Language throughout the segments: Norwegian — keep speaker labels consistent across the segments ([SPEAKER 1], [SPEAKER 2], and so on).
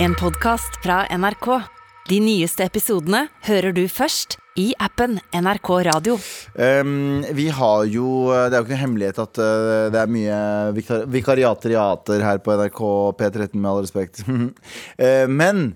[SPEAKER 1] En podcast fra NRK. De nyeste episodene hører du først i appen NRK Radio.
[SPEAKER 2] Ehm, vi har jo Det er jo ikke noe hemmelighet at eh, det er mye vikar vikariateriater her på NRK P13, med all respekt. Eh, men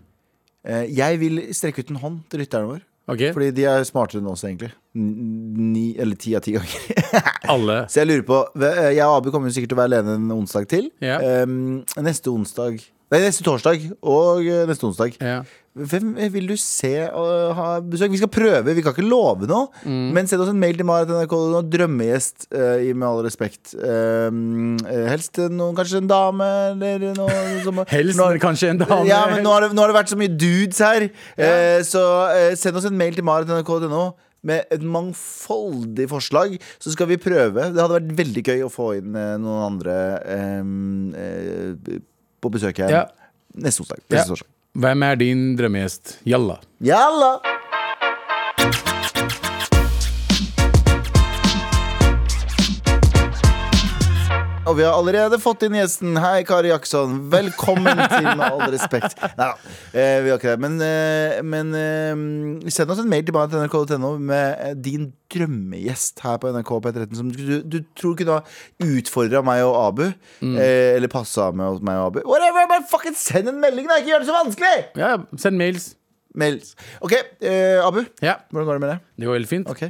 [SPEAKER 2] eh, jeg vil strekke ut en hånd til lytterne våre.
[SPEAKER 3] Ok,
[SPEAKER 2] Fordi de er smartere enn oss, egentlig. N- Ni, eller ti av ti ganger.
[SPEAKER 3] alle
[SPEAKER 2] Så jeg lurer på eh, Jeg og Abu kommer jo sikkert til å være alene en onsdag til.
[SPEAKER 3] Ja.
[SPEAKER 2] Ehm, neste onsdag Nei, neste torsdag og eh, neste onsdag.
[SPEAKER 3] ja.
[SPEAKER 2] Hvem eh, vil du se og ha besøk? Vi skal prøve, vi kan ikke love noe.
[SPEAKER 3] Mm.
[SPEAKER 2] Men send oss en mail til marit.nrk.no. Drømmegjest, eh, i- med all respekt. Um, eh, helst noen, kanskje en dame eller noe som
[SPEAKER 3] Helst
[SPEAKER 2] Nå har-
[SPEAKER 3] kanskje en dame
[SPEAKER 2] Ja, men nå har, det, nå har det vært så mye dudes her. Eh, så eh, send oss en mail til marit.nrk.no. Med et mangfoldig forslag, så skal vi prøve. Det hadde vært veldig gøy å få inn eh, noen andre em, eh, b- på besøk her
[SPEAKER 3] Ja.
[SPEAKER 2] neste onsdag.
[SPEAKER 3] Ja.
[SPEAKER 2] Neste torsdag.
[SPEAKER 3] Hvem er din drømmegjest? Jalla
[SPEAKER 2] Jalla! Og vi har allerede fått inn gjesten. Hei, Kari Jackson. Velkommen til Med all respekt. Nei da, eh, vi har ikke det. Men, eh, men eh, send oss en mail til meg til nrk.no med eh, din drømmegjest her på NRK P13 som du, du tror kunne ha utfordra meg og Abu. Eh, eller passa med meg og Abu. Whatever, bare fucking Send en melding, da! Ikke gjør det så vanskelig!
[SPEAKER 3] Ja, send mails
[SPEAKER 2] Mails. OK, eh, Abu.
[SPEAKER 3] Ja,
[SPEAKER 2] Hvordan går det med det?
[SPEAKER 3] det går helt fint
[SPEAKER 2] Ok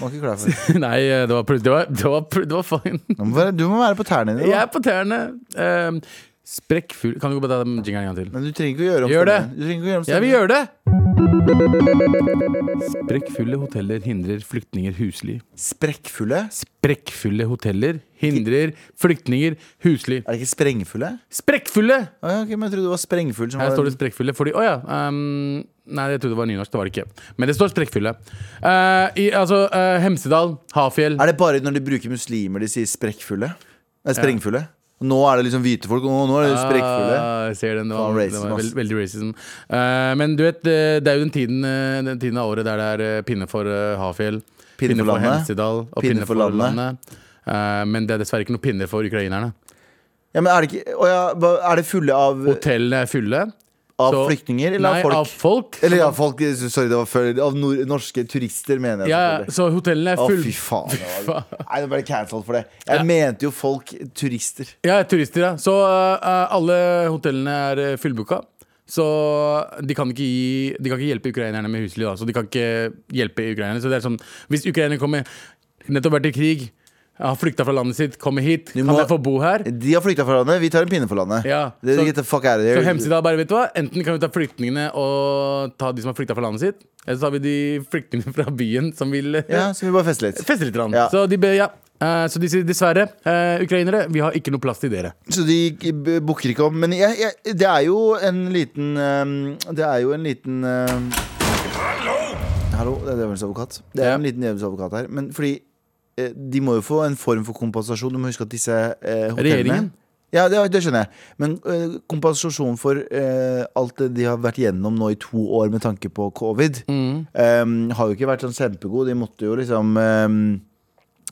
[SPEAKER 2] Var ikke klar for det.
[SPEAKER 3] Nei, eh, det var, plut- det var, det var, plut- det var fine
[SPEAKER 2] Du må være, du må være på tærne dine.
[SPEAKER 3] Jeg
[SPEAKER 2] da.
[SPEAKER 3] er på tærne um, Sprekkfull Kan du gå på den jingeren en gang til?
[SPEAKER 2] Men du trenger ikke å gjøre om
[SPEAKER 3] Gjør det.
[SPEAKER 2] stemmen. Du trenger ikke å gjøre om
[SPEAKER 3] Jeg
[SPEAKER 2] stemmen.
[SPEAKER 3] vil gjøre det! Sprekkfulle hoteller hindrer flyktninger husly
[SPEAKER 2] Sprekkfulle?
[SPEAKER 3] Sprekkfulle hoteller hindrer flyktninger husly
[SPEAKER 2] Er det ikke sprengfulle?
[SPEAKER 3] Sprekkfulle!
[SPEAKER 2] Å ja, ok, men jeg trodde det var sprengfull som
[SPEAKER 3] Her
[SPEAKER 2] var
[SPEAKER 3] står det sprekkfulle fordi Å ja. ehm, nei, jeg trodde det var nynorsk. Det var det ikke. Men det står sprekkfulle. Eh, i, altså eh, Hemsedal, Hafjell
[SPEAKER 2] Er det bare når de bruker muslimer de sier sprekkfulle? Nei, sprengfulle? Nå er det liksom hvite folk, og nå er det sprekkfulle.
[SPEAKER 3] Ah, jeg ser den. Det var,
[SPEAKER 2] Faen,
[SPEAKER 3] det
[SPEAKER 2] racism,
[SPEAKER 3] var
[SPEAKER 2] ass.
[SPEAKER 3] veld, veldig racism. Eh, men du vet, eh, det er jo den tiden, eh, den tiden av året der det er eh, pinne for eh, Hafjell,
[SPEAKER 2] Pinne for landet.
[SPEAKER 3] Hemsedal og
[SPEAKER 2] Pinne
[SPEAKER 3] pinne,
[SPEAKER 2] for
[SPEAKER 3] for
[SPEAKER 2] landet.
[SPEAKER 3] landet. Eh, men det er dessverre ikke noen pinner for ukrainerne.
[SPEAKER 2] Ja, men er det ikke Å ja, hva- er det fulle av,
[SPEAKER 3] Hotellene er fulle.
[SPEAKER 2] av
[SPEAKER 3] så-
[SPEAKER 2] flyktninger Eh, eller
[SPEAKER 3] nei,
[SPEAKER 2] av folk?
[SPEAKER 3] av folk.
[SPEAKER 2] Eller ja, folk Sorry, det var før. Av nor norske turister, mener jeg.
[SPEAKER 3] ja,
[SPEAKER 2] selvfølgelig.
[SPEAKER 3] så hotellene er
[SPEAKER 2] Å,
[SPEAKER 3] full...
[SPEAKER 2] fy faen. det var-
[SPEAKER 3] faen.
[SPEAKER 2] Nei, nå ble det cancelled for det. Jeg
[SPEAKER 3] Ja.
[SPEAKER 2] mente jo folk turister.
[SPEAKER 3] Ja, turister, ja. Så eh, alle hotellene er eh, fullbooka. Så eh, de kan, ikke gi, de kan ikke hjelpe ukrainerne med husly. Da. Så de kan ikke hjelpe ukrainerne. Så det er sånn, hvis ukrainerne kommer nettopp vært i krig, har flykta fra landet sitt, kommer hit,
[SPEAKER 2] Du
[SPEAKER 3] kan
[SPEAKER 2] må-
[SPEAKER 3] jeg få bo her?
[SPEAKER 2] De har flykta fra landet, vi tar en pinne for landet.
[SPEAKER 3] Ja,
[SPEAKER 2] Det,
[SPEAKER 3] så-
[SPEAKER 2] get the fuck out of here.
[SPEAKER 3] Så Hemsedal bare, vet du hva? Enten kan vi ta flyktningene og ta de som har flykta fra landet sitt, eller så tar vi de flyktningene fra byen som vil eh,
[SPEAKER 2] Ja, så vi bare feste litt.
[SPEAKER 3] feste litt. grann.
[SPEAKER 2] Ja.
[SPEAKER 3] Så de be, ja. Eh, så de sier dessverre, eh, ukrainere, vi har ikke noe plass til dere.
[SPEAKER 2] Så de b- booker ikke om. Men jeg, jeg, det er jo en liten ehm, Det er jo en liten ehm, Hallo! Det er djevelens advokat. Det er
[SPEAKER 3] Ja.
[SPEAKER 2] en liten djevelens advokat her. Men fordi eh, de må jo få en form for kompensasjon. Du må huske at disse eh, hotellene
[SPEAKER 3] Regjeringen?
[SPEAKER 2] Ja, det, det skjønner jeg. Men eh, kompensasjon for eh, alt det de har vært gjennom nå i to år med tanke på covid,
[SPEAKER 3] Mm.
[SPEAKER 2] ehm, har jo ikke vært sånn kjempegod. De måtte jo liksom ehm,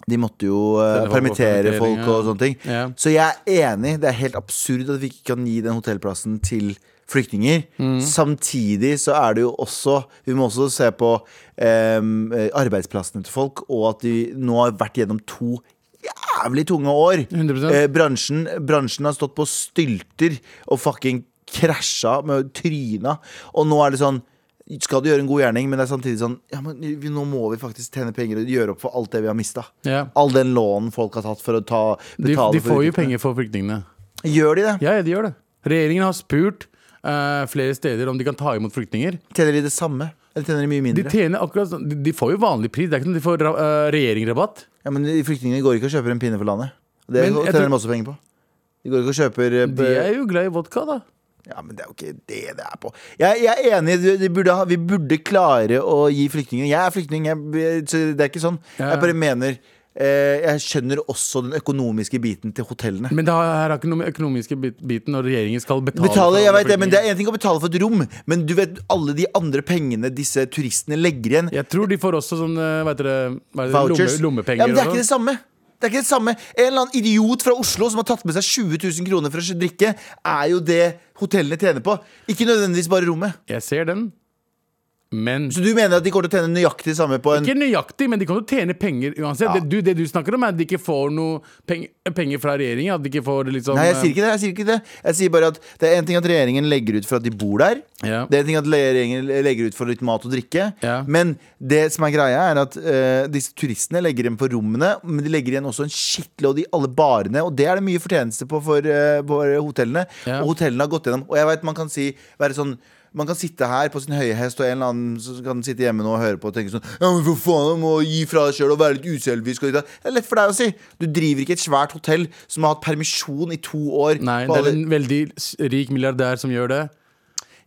[SPEAKER 2] De måtte jo eh,
[SPEAKER 3] Sende folk på
[SPEAKER 2] permittere
[SPEAKER 3] permittering,
[SPEAKER 2] folk og
[SPEAKER 3] ja.
[SPEAKER 2] sånne ting.
[SPEAKER 3] Ja.
[SPEAKER 2] Så jeg er enig, det er helt absurd at vi ikke kan gi den hotellplassen til flyktninger. Samtidig så er det jo også Vi må også se på em, eh, arbeidsplassene til folk, og at de nå har vært gjennom to jævlig tunge år.
[SPEAKER 3] 100%.
[SPEAKER 2] Eh, bransjen, bransjen har stått på stylter og fucking krasja med tryna, og nå er det sånn skal du gjøre en god gjerning, men det er samtidig sånn ja, men vi, Nå må vi faktisk tjene penger og gjøre opp for alt det vi har mista.
[SPEAKER 3] Ja.
[SPEAKER 2] All den lånen folk har tatt for å ta,
[SPEAKER 3] De,
[SPEAKER 2] betale
[SPEAKER 3] de
[SPEAKER 2] for
[SPEAKER 3] får jo
[SPEAKER 2] utgiftene.
[SPEAKER 3] penger for flyktningene.
[SPEAKER 2] Gjør de det?
[SPEAKER 3] Ja, ja, de gjør det. Regjeringen har spurt eh, flere steder om de kan ta imot flyktninger.
[SPEAKER 2] Tjener de det samme? Eller tjener de mye
[SPEAKER 3] De
[SPEAKER 2] mindre?
[SPEAKER 3] tjener akkurat sånn- De, de får jo vanlig pris. Det er ikke noe de får uh, regjeringerabatt.
[SPEAKER 2] Ja, men de Flyktningene går ikke og kjøper en pinne for landet. Det
[SPEAKER 3] Men jeg
[SPEAKER 2] tjener
[SPEAKER 3] tror-
[SPEAKER 2] de også penger på. De går ikke og kjøper eh,
[SPEAKER 3] De er jo glad i vodka, da.
[SPEAKER 2] Ja, men det er jo ikke det det er på. Jeg, jeg er enig, du- de burde ha, vi burde klare å gi flyktninger Jeg er flyktning, jeg, så det er ikke sånn.
[SPEAKER 3] Ja.
[SPEAKER 2] Jeg bare mener eh, Jeg skjønner også den økonomiske biten til hotellene.
[SPEAKER 3] Men det har, her har ikke noe med økonomiske bit- biten når regjeringen skal betale.
[SPEAKER 2] Betale,
[SPEAKER 3] for
[SPEAKER 2] jeg vet det, men det
[SPEAKER 3] flyktninger.
[SPEAKER 2] er én ting å betale for et rom, men du vet alle de andre pengene disse turistene legger igjen.
[SPEAKER 3] Jeg tror de får også sånn eh, hva heter det, hva heter det,
[SPEAKER 2] Vouchers.
[SPEAKER 3] lomme, lommepenger.
[SPEAKER 2] ja, men det er ikke
[SPEAKER 3] og sånn.
[SPEAKER 2] det samme. Det er ikke det samme. En eller annen idiot fra Oslo som har tatt med seg 20 000 kroner for å drikke, er jo det hotellene tjener på. Ikke nødvendigvis bare rommet.
[SPEAKER 3] Jeg ser den, men
[SPEAKER 2] Så du mener at de kommer til å tjene nøyaktig det samme på en
[SPEAKER 3] Ikke nøyaktig, men de kommer til å tjene penger uansett. Det, du, det du snakker om, er at de ikke får noe peng, penger fra regjeringen. At de ikke får liksom
[SPEAKER 2] Nei, jeg sier ikke det. Jeg sier ikke det Jeg sier bare at det er en ting at regjeringen legger ut for at de bor der.
[SPEAKER 3] eh, Ja.
[SPEAKER 2] Det er en ting at regjeringen legger ut for litt mat og drikke.
[SPEAKER 3] Ja.
[SPEAKER 2] Men det som er greia, er at eh, disse turistene legger igjen på rommene, men de legger igjen også en skittlodd i alle barene, og det er det mye fortjeneste på for, eh, for hotellene.
[SPEAKER 3] Ja.
[SPEAKER 2] Og hotellene har gått gjennom. Og jeg vet man kan si være sånn man kan sitte her på sin høye hest, og en eller annen så kan sitte hjemme nå og høre på og tenke sånn Ja, men for faen, du må gi fra deg sjøl og være litt uselvisk. og ditt og datt». Det er lett for deg å si. Du driver ikke et svært hotell som har hatt permisjon i to år.
[SPEAKER 3] Nei,
[SPEAKER 2] på
[SPEAKER 3] det er
[SPEAKER 2] alle-
[SPEAKER 3] en veldig s- rik milliardær som gjør det.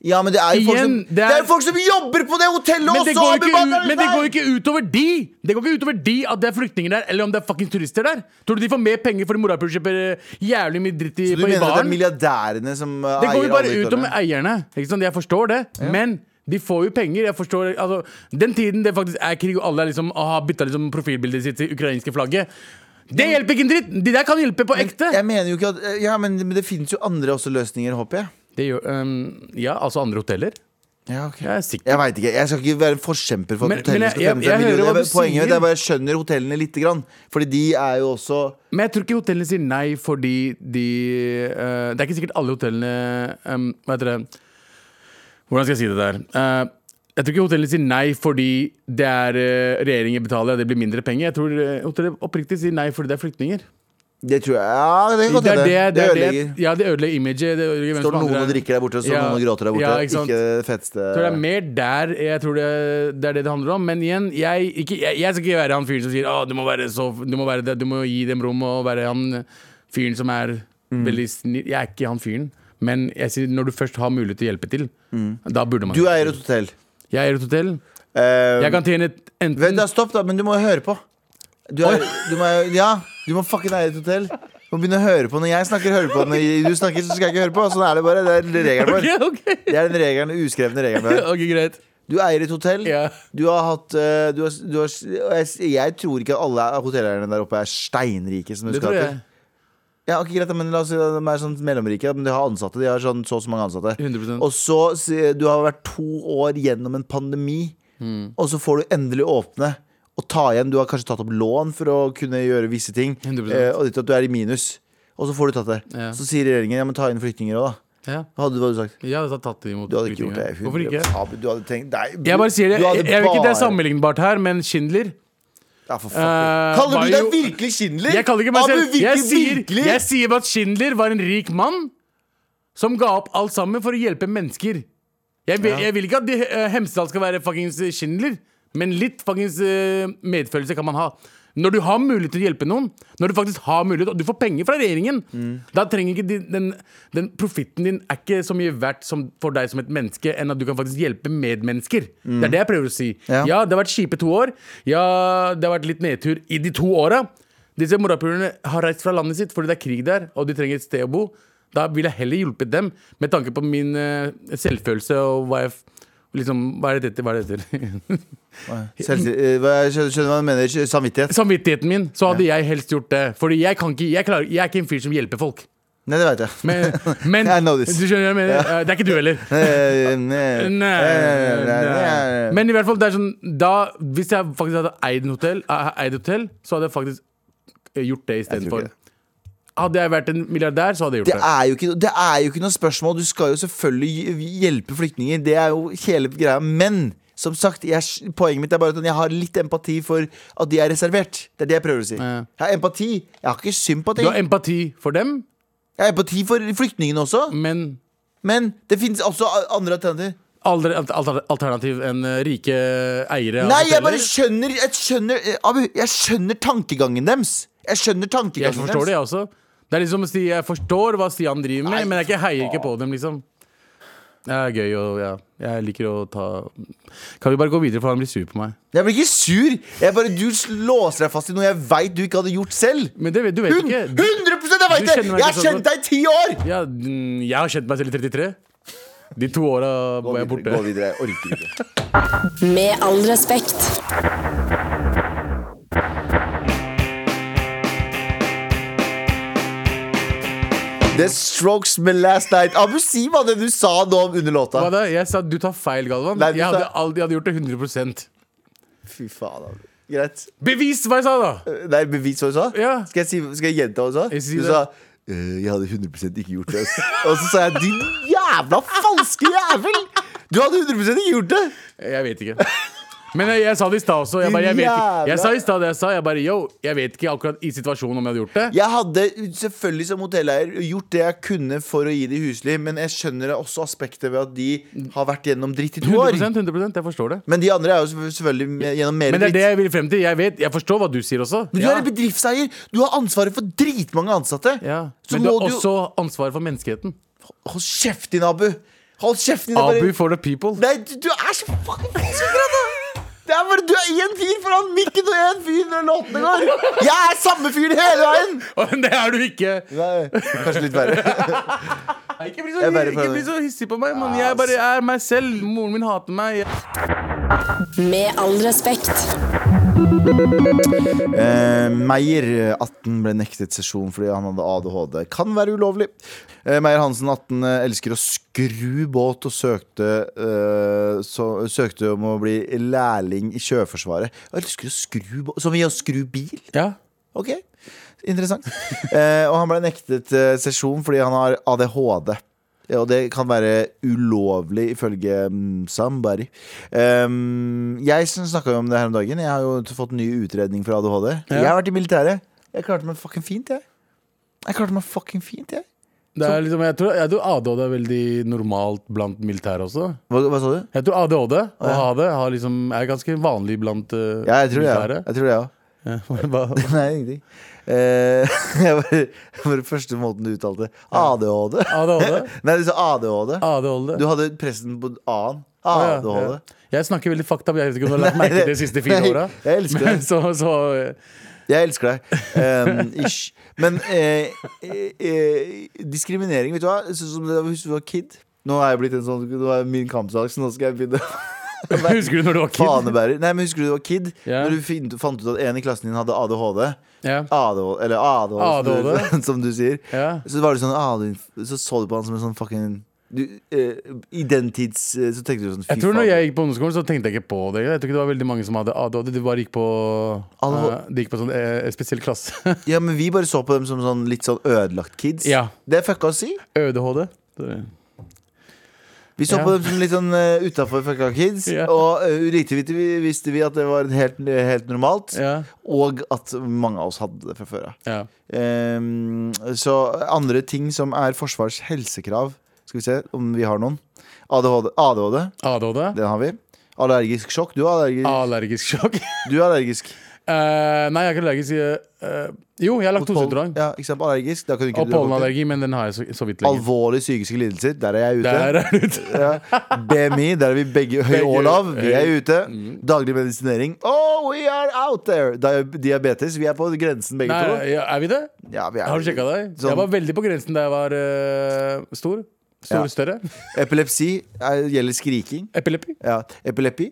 [SPEAKER 2] Ja, men det er jo folk
[SPEAKER 3] Igjen,
[SPEAKER 2] som,
[SPEAKER 3] det er-
[SPEAKER 2] det er jo folk som jobber på det hotellet
[SPEAKER 3] Men det,
[SPEAKER 2] også!
[SPEAKER 3] går
[SPEAKER 2] Abu
[SPEAKER 3] ikke ut,
[SPEAKER 2] Bakar
[SPEAKER 3] men det
[SPEAKER 2] Hussein!
[SPEAKER 3] går ikke utover de! Det går ikke utover de at det er flyktninger der, eller om det er fucking turister der. Tror du de får mer penger fordi morapulere kjøper eh, jævlig mye dritt i,
[SPEAKER 2] Så du
[SPEAKER 3] på, i
[SPEAKER 2] mener at det er
[SPEAKER 3] baren?
[SPEAKER 2] milliardærene som uh,
[SPEAKER 3] Det går
[SPEAKER 2] eier
[SPEAKER 3] jo
[SPEAKER 2] alle
[SPEAKER 3] bare ut om
[SPEAKER 2] hotellene?
[SPEAKER 3] eierne. Ikke sant? Jeg forstår det. Men de får jo penger. Jeg forstår, altså, den tiden det faktisk er krig, og alle er liksom, ah, har bytta liksom profilbildet sitt til ukrainske flagget Det hjelper ikke en dritt! De der kan hjelpe på ekte.
[SPEAKER 2] Jeg mener jo ikke at eh, Ja, men, men det finnes jo andre også løsninger, håper jeg.
[SPEAKER 3] Det gjør, ehm, ja, altså andre hoteller.
[SPEAKER 2] Ja, ok
[SPEAKER 3] Jeg er sikker.
[SPEAKER 2] Jeg veit ikke. Jeg skal ikke være en forkjemper for at
[SPEAKER 3] Men-
[SPEAKER 2] hotellene
[SPEAKER 3] men jeg-
[SPEAKER 2] skal
[SPEAKER 3] jeg-
[SPEAKER 2] tjene
[SPEAKER 3] jeg
[SPEAKER 2] seg
[SPEAKER 3] hører
[SPEAKER 2] millioner.
[SPEAKER 3] hva du
[SPEAKER 2] Poenget
[SPEAKER 3] sier.
[SPEAKER 2] er bare jeg skjønner hotellene lite grann. Fordi de er jo også
[SPEAKER 3] Men jeg tror ikke hotellene sier nei fordi de eh, Det er ikke sikkert alle hotellene um, Hva heter det Hvordan skal jeg si det der? Eh, jeg tror ikke hotellene sier nei fordi det er eh, regjeringen betaler og det blir mindre penger. Jeg tror eh, hotellene oppriktig sier nei fordi det er flyktninger.
[SPEAKER 2] Det tror jeg Ja, det kan godt
[SPEAKER 3] Det er
[SPEAKER 2] hende.
[SPEAKER 3] det, det, er det,
[SPEAKER 2] ødelegger.
[SPEAKER 3] ja, det ødelegger imaget. Det ødelegger hvem
[SPEAKER 2] Står
[SPEAKER 3] som
[SPEAKER 2] det noen
[SPEAKER 3] andre
[SPEAKER 2] og
[SPEAKER 3] er-
[SPEAKER 2] drikker der borte, og står
[SPEAKER 3] Ja,
[SPEAKER 2] noen og gråter der borte.
[SPEAKER 3] ja, ikke sant?
[SPEAKER 2] ikke det feteste
[SPEAKER 3] Jeg tror det er mer der jeg tror det, det er det det handler om. Men igjen, jeg, ikke, jeg, jeg skal ikke være han fyren som sier at du, må være så- du, må være det- du må gi dem rom og være han fyren som er
[SPEAKER 2] Mm.
[SPEAKER 3] veldig snill. Jeg er ikke han fyren. Men jeg sier, når du først har mulighet til å hjelpe til, da burde man
[SPEAKER 2] Mm. Du eier et hotell.
[SPEAKER 3] Jeg eier et hotell.
[SPEAKER 2] Eh,
[SPEAKER 3] Jeg kan tjene et-
[SPEAKER 2] Vent,
[SPEAKER 3] enten
[SPEAKER 2] da, stopp, da, men du må jo høre på. Du, er, du må, ja, du må fucking eie et hotell. Du må begynne å høre på når jeg snakker. Høre på. Når du snakker, så skal jeg ikke høre på. Sånn er det bare. Det er regelen vår.
[SPEAKER 3] Ok, ok.
[SPEAKER 2] Det er den regelen, den uskrevne regelen vår.
[SPEAKER 3] Ok, greit.
[SPEAKER 2] Du eier et hotell.
[SPEAKER 3] Ja.
[SPEAKER 2] Du har hatt eh, du har, du har, og jeg, jeg tror ikke alle hotelleierne der oppe er steinrike. Som du
[SPEAKER 3] Det
[SPEAKER 2] skal
[SPEAKER 3] tror
[SPEAKER 2] til.
[SPEAKER 3] jeg.
[SPEAKER 2] Ja, ok, greit, da, men la oss si at de er sånn mellomrike, da, men de har ansatte. De har sånn så og så mange ansatte.
[SPEAKER 3] 100%.
[SPEAKER 2] Og så si- du har vært to år gjennom en pandemi, og så får du endelig åpne og ta igjen. Du har kanskje tatt opp lån for å kunne gjøre visse ting,
[SPEAKER 3] 100%.
[SPEAKER 2] eh, og ditt at du er i minus. Og så får du tatt det.
[SPEAKER 3] Ja.
[SPEAKER 2] Så sier regjeringen ja, men ta inn flyktninger òg, da.
[SPEAKER 3] Ja.
[SPEAKER 2] Hva hadde, hva hadde du sagt?
[SPEAKER 3] Jeg hadde tatt imot
[SPEAKER 2] Du hadde ikke gjort det.
[SPEAKER 3] flyktninger. Hvorfor ikke?
[SPEAKER 2] Abu, Du hadde tenkt Nei,
[SPEAKER 3] Jeg bare sier
[SPEAKER 2] du
[SPEAKER 3] det. Jeg,
[SPEAKER 2] hadde
[SPEAKER 3] jeg vet ikke
[SPEAKER 2] bare-
[SPEAKER 3] det er sammenlignbart her, men Schindler
[SPEAKER 2] Ja, for fuck.
[SPEAKER 3] Eh,
[SPEAKER 2] Kaller
[SPEAKER 3] var
[SPEAKER 2] du deg
[SPEAKER 3] jo-
[SPEAKER 2] virkelig Schindler?
[SPEAKER 3] Jeg kaller ikke meg
[SPEAKER 2] Abu,
[SPEAKER 3] selv jeg
[SPEAKER 2] virkelig,
[SPEAKER 3] sier,
[SPEAKER 2] virkelig?
[SPEAKER 3] jeg sier bare at Schindler var en rik mann som ga opp alt sammen for å hjelpe mennesker. Jeg vil, jeg vil ikke at de, eh, Hemsedal skal være fuckings eh, Schindler, men litt fuckings eh, medfølelse kan man ha. Når du har mulighet til å hjelpe noen, Når du faktisk har mulighet og du får penger fra regjeringen,
[SPEAKER 2] Mm.
[SPEAKER 3] da trenger ikke de, den, den profitten din er ikke så mye verdt som, for deg som et menneske, enn at du kan faktisk hjelpe medmennesker. Det er det jeg prøver å si.
[SPEAKER 2] Mm. Ja.
[SPEAKER 3] ja, det har vært kjipe to år. Ja, det har vært litt nedtur i de to åra. Disse morapulerne har reist fra landet sitt fordi det er krig der, og de trenger et sted å bo. Da ville jeg heller hjulpet dem, med tanke på min eh, selvfølelse og hva jeg f- Liksom, hva er det dette? Hva er det dette?
[SPEAKER 2] Selv, eh, hva- jeg skjønner skjønner hva du mener. Samvittighet.
[SPEAKER 3] Samvittigheten min, så hadde jeg helst gjort det. Fordi jeg kan ikke Jeg, klarer, jeg er ikke en fyr som hjelper folk.
[SPEAKER 2] Nei, det veit jeg.
[SPEAKER 3] Men, men
[SPEAKER 2] I know
[SPEAKER 3] du
[SPEAKER 2] this.
[SPEAKER 3] skjønner hva jeg mener? Eh, Det er ikke du heller.
[SPEAKER 2] Eh, nei,
[SPEAKER 3] Nei,
[SPEAKER 2] eh, nei, nei.
[SPEAKER 3] Men i hvert fall, det er sånn da, Hvis jeg faktisk hadde eid en hotell, eh, eid hotell så hadde jeg faktisk eh, gjort det
[SPEAKER 2] Jeg tror
[SPEAKER 3] istedenfor.
[SPEAKER 2] ikke det.
[SPEAKER 3] Hadde jeg vært en milliardær, så hadde jeg
[SPEAKER 2] Det
[SPEAKER 3] gjort det.
[SPEAKER 2] er, jo ikke, det er jo ikke noe spørsmål. Du skal jo selvfølgelig hjelpe flyktninger. Det er jo hele greia. Men som sagt, jeg, poenget mitt er bare at jeg har litt empati for at de er reservert. Det er det jeg prøver å si.
[SPEAKER 3] Ja.
[SPEAKER 2] Jeg har empati. Jeg har ikke sympati.
[SPEAKER 3] Du har empati for dem,
[SPEAKER 2] Jeg har empati for flyktningene også.
[SPEAKER 3] men
[SPEAKER 2] Men det fins også andre alternativer.
[SPEAKER 3] aldri alt- alt- alternativ enn eh, rike eiere av
[SPEAKER 2] Nei, jeg
[SPEAKER 3] hoteller.
[SPEAKER 2] bare skjønner Jeg skjønner, eh, Abu, jeg skjønner tankegangen deres. Jeg skjønner
[SPEAKER 3] Jeg
[SPEAKER 2] tankegangen
[SPEAKER 3] forstår det, jeg også. Det er liksom å si jeg forstår hva Stian driver med,
[SPEAKER 2] Nei,
[SPEAKER 3] men jeg ikke heier ikke på dem, liksom. Det er gøy og ja. Jeg liker å ta Kan vi bare gå videre, for han blir sur på meg.
[SPEAKER 2] Jeg blir ikke sur. Jeg bare, du låser deg fast i noe jeg veit du ikke hadde gjort selv.
[SPEAKER 3] Men det, vet- du vet
[SPEAKER 2] Hun,
[SPEAKER 3] ikke.
[SPEAKER 2] 100 jeg
[SPEAKER 3] Du
[SPEAKER 2] veit det!
[SPEAKER 3] kjenner meg
[SPEAKER 2] Jeg har
[SPEAKER 3] ikke sånn. så
[SPEAKER 2] kjent
[SPEAKER 3] godt.
[SPEAKER 2] deg i ti år!
[SPEAKER 3] Ja, mm, jeg har kjent meg selv i 33. De to åra var jeg borte.
[SPEAKER 2] Gå videre. Jeg orker ikke.
[SPEAKER 4] Med all respekt.
[SPEAKER 2] The Strokes med Last Night. Abu, si hva det du sa nå om under låta.
[SPEAKER 3] Hva da? Jeg sa du tar feil, Galvan.
[SPEAKER 2] Nei, du
[SPEAKER 3] jeg, hadde
[SPEAKER 2] sa-
[SPEAKER 3] aldri, jeg hadde gjort det 100
[SPEAKER 2] Fy faen, Abu. Greit.
[SPEAKER 3] Bevis hva jeg sa, da!
[SPEAKER 2] Nei, bevis hva du sa?
[SPEAKER 3] Ja.
[SPEAKER 2] Skal, jeg si, skal jeg gjenta hva du
[SPEAKER 3] Jeg
[SPEAKER 2] sa?
[SPEAKER 3] sier
[SPEAKER 2] Du
[SPEAKER 3] det.
[SPEAKER 2] sa «Øh, jeg hadde 100 ikke gjort det. ass.» Og så sa jeg din jævla falske jævel! Du hadde 100 ikke gjort det!
[SPEAKER 3] Jeg vet ikke. Men jeg, jeg sa det i stad også. Jeg, bare, jeg, vet ikke. jeg sa i stad det jeg sa. Jeg bare yo, jeg vet ikke akkurat i situasjonen om jeg hadde gjort det.
[SPEAKER 2] Jeg hadde selvfølgelig som hotelleier gjort det jeg kunne for å gi de husly, men jeg skjønner også aspektet ved at de har vært gjennom dritt i to år.
[SPEAKER 3] 100%, 100 Jeg forstår det.
[SPEAKER 2] Men de andre er jo selvfø- selvfølgelig me- gjennom mer
[SPEAKER 3] Men det er
[SPEAKER 2] dritt.
[SPEAKER 3] det jeg vil frem til. Jeg vet, jeg forstår hva du sier også.
[SPEAKER 2] Men du
[SPEAKER 3] Ja.
[SPEAKER 2] er en bedriftseier! Du har ansvaret for dritmange ansatte!
[SPEAKER 3] Ja.
[SPEAKER 2] Så
[SPEAKER 3] Men du
[SPEAKER 2] må
[SPEAKER 3] har
[SPEAKER 2] du
[SPEAKER 3] også ansvaret for menneskeheten.
[SPEAKER 2] Hold kjeft din, Abu! Hold kjeft din! det er bare-
[SPEAKER 3] Abu for the people.
[SPEAKER 2] Nei, du, du er så fucking falskgrad, da! Det er bare, du er én fyr foran mikken og én fyr når låtene går! Jeg er samme fyren hele veien!
[SPEAKER 3] Det er du ikke.
[SPEAKER 2] Nei, kanskje litt verre.
[SPEAKER 3] Nei, Ikke bli så,
[SPEAKER 2] Jeg bare
[SPEAKER 3] ikke
[SPEAKER 2] prøver.
[SPEAKER 3] bli så hissig på meg, mann. Jeg bare er meg selv. Moren min hater meg.
[SPEAKER 1] Med all respekt.
[SPEAKER 2] Eh, Meyer, 18, ble nektet sesjon fordi han hadde ADHD. Kan være ulovlig. Eh, Meyer Hansen, 18, eh, elsker å skru båt og søkte, eh, så, søkte om å bli lærling i Sjøforsvaret. Jeg elsker å skru båt Som i å skru bil?
[SPEAKER 3] Ja.
[SPEAKER 2] Ok, interessant. Eh, og han ble nektet eh, sesjon fordi han har ADHD. Ja, og det kan være ulovlig, ifølge mm, somebody. Um, jeg snakka jo om det her om dagen. Jeg har jo fått en ny utredning for ADHD. Jeg har vært i militæret. Jeg klarte meg fucking fint, jeg. Jeg klarte meg fucking fint, jeg.
[SPEAKER 3] Det er liksom, jeg, tror, jeg tror ADHD er veldig normalt blant militære også.
[SPEAKER 2] Hva, hva sa du?
[SPEAKER 3] Jeg tror ADHD og AD har liksom, er ganske vanlig blant eh,
[SPEAKER 2] Ja, jeg tror det, ja.
[SPEAKER 3] militære.
[SPEAKER 2] Jeg tror det, ja.
[SPEAKER 3] Ja, hva-
[SPEAKER 2] Nei, ingenting. Eh, jeg var, det var den første måten du uttalte ADHD.
[SPEAKER 3] ADHD?
[SPEAKER 2] Nei, du sa ADHD.
[SPEAKER 3] ADHD.
[SPEAKER 2] Du hadde pressen på A-en.
[SPEAKER 3] Ja, ja.
[SPEAKER 2] ADHD.
[SPEAKER 3] Jeg snakker veldig fucked up. Jeg vet ikke om du har lagt
[SPEAKER 2] Nei,
[SPEAKER 3] merke til
[SPEAKER 2] det-
[SPEAKER 3] det de siste fire
[SPEAKER 2] nei,
[SPEAKER 3] åra.
[SPEAKER 2] jeg elsker
[SPEAKER 3] Men
[SPEAKER 2] det.
[SPEAKER 3] Så, så, eh,
[SPEAKER 2] Jeg elsker deg. Um, ish. Men eh, eh, eh, diskriminering, vet du hva? Sånn som det var hvis du var kid. Nå er jeg blitt en sånn Nå er jeg min kampsak, så nå skal jeg begynne.
[SPEAKER 3] Husker du når du var kid?
[SPEAKER 2] Fanebærer. Nei, men Husker du du var kid?
[SPEAKER 3] Ja.
[SPEAKER 2] Når du fint, fant ut at en i klassen din hadde ADHD?
[SPEAKER 3] Ja.
[SPEAKER 2] ADHD eller ADHD, Som,
[SPEAKER 3] ADHD.
[SPEAKER 2] du, som du sier.
[SPEAKER 3] Ja.
[SPEAKER 2] Så var det sånn ah, du- Så så du på han som en sånn fucking du, eh, I den tids eh, Så tenkte du sånn
[SPEAKER 3] Jeg tror når jeg gikk på ungdomsskolen, så tenkte jeg ikke på det. Jeg tror ikke det var veldig mange som hadde ADHD. De bare gikk på,
[SPEAKER 2] ADHD.
[SPEAKER 3] eh, de gikk på sånn eh, spesiell klasse.
[SPEAKER 2] Ja, men vi bare så på dem som sånn litt sånn ødelagt kids.
[SPEAKER 3] Ja.
[SPEAKER 2] Det er fucka å si.
[SPEAKER 3] ØDHD. Det-
[SPEAKER 2] Vi så
[SPEAKER 3] Ja.
[SPEAKER 2] på dem som litt sånn uh, utafor fucka kids.
[SPEAKER 3] Ja.
[SPEAKER 2] Og uh, lite vidt vi, visste vi at det var helt, helt normalt.
[SPEAKER 3] Ja.
[SPEAKER 2] Og at mange av oss hadde det fra før av.
[SPEAKER 3] ja.
[SPEAKER 2] Ehm, så andre ting som er Forsvarets helsekrav Skal vi se om vi har noen. ADHD, ADHD
[SPEAKER 3] ADHD.
[SPEAKER 2] den har vi. Allergisk sjokk. Du er allergisk.
[SPEAKER 3] Allergisk sjokk.
[SPEAKER 2] Du er allergisk.
[SPEAKER 3] Eh, nei, jeg er ikke allergisk. eh, eh, jo, jeg har
[SPEAKER 2] Mot pollen.
[SPEAKER 3] laktoseutdrag.
[SPEAKER 2] Ja, ikke sant? Allergisk. Da kan du ikke
[SPEAKER 3] Og pollenallergi, men den har jeg så, så vidt lenge.
[SPEAKER 2] Alvorlige psykiske lidelser. Der er jeg ute.
[SPEAKER 3] Der er det ute.
[SPEAKER 2] Ja. BMI, der er vi begge høy
[SPEAKER 3] Begge
[SPEAKER 2] og lav. Vi er
[SPEAKER 3] høy. Mm.
[SPEAKER 2] ute. Daglig medisinering. Oh, we are out there! Di- Diabetes. Vi er på grensen, begge
[SPEAKER 3] Nei,
[SPEAKER 2] to.
[SPEAKER 3] ja, er vi det?
[SPEAKER 2] Ja, vi er
[SPEAKER 3] Har du sjekka deg?
[SPEAKER 2] Sånn.
[SPEAKER 3] Jeg var veldig på grensen da jeg var eh, stor. Stor,
[SPEAKER 2] Ja.
[SPEAKER 3] større.
[SPEAKER 2] Epilepsi er, gjelder skriking.
[SPEAKER 3] Epilepi.
[SPEAKER 2] Ja, Epilepi.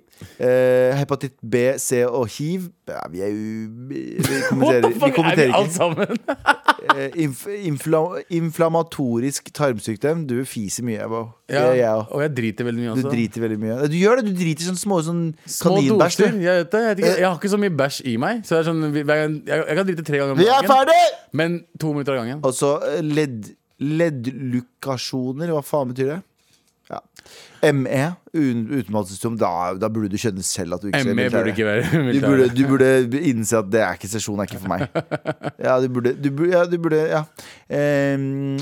[SPEAKER 2] Eh, hepatitt B, C og hiv. Ja, vi er u... Vi
[SPEAKER 3] What
[SPEAKER 2] kommenterer,
[SPEAKER 3] the
[SPEAKER 2] vi
[SPEAKER 3] fuck, er vi altså-
[SPEAKER 2] kommenterer
[SPEAKER 3] alt
[SPEAKER 2] ikke.
[SPEAKER 3] sammen?
[SPEAKER 2] Eh, inf, infla, inflammatorisk tarmsykdom. Du fiser mye, Ebo. Det
[SPEAKER 3] Ja,
[SPEAKER 2] gjør jeg òg.
[SPEAKER 3] Og jeg driter veldig mye,
[SPEAKER 2] Du
[SPEAKER 3] altså.
[SPEAKER 2] driter veldig mye. Du gjør det, du driter i sånne små sånn
[SPEAKER 3] Små
[SPEAKER 2] kaninbæsj.
[SPEAKER 3] doser.
[SPEAKER 2] du.
[SPEAKER 3] Jeg, vet det, jeg,
[SPEAKER 2] Eh.
[SPEAKER 3] vet ikke, jeg har ikke så mye bæsj i meg. Så det er sånn, hver gang, jeg, jeg kan drite tre ganger om
[SPEAKER 2] Vi er
[SPEAKER 3] dagen.
[SPEAKER 2] ferdig!
[SPEAKER 3] Men to minutter av gangen.
[SPEAKER 2] Altså eh, ledd leddlukasjoner, hva faen betyr det? Ja. ME, un- utenlandssystem, da, da burde du skjønne selv at du ikke skal i
[SPEAKER 3] ME Eh, E burde
[SPEAKER 2] militæret.
[SPEAKER 3] ikke være
[SPEAKER 2] du
[SPEAKER 3] militær.
[SPEAKER 2] burde, du burde innse at det er ikke sesjon, det er ikke for meg. Ja, du burde Du burde, ja, du burde, ja. Ehm,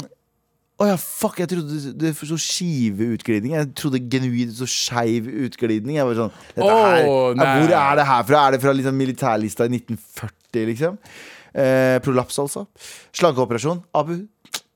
[SPEAKER 2] Å ja, fuck, jeg trodde det- det så skive utglidning. Jeg trodde genuint så skeiv utglidning. Jeg var sånn Dette her,
[SPEAKER 3] Åh,
[SPEAKER 2] ja,
[SPEAKER 3] nei.
[SPEAKER 2] Hvor er det her fra? Er det fra liksom militærlista i 1940, liksom? Eh, prolaps, altså. Slankeoperasjon. Abu,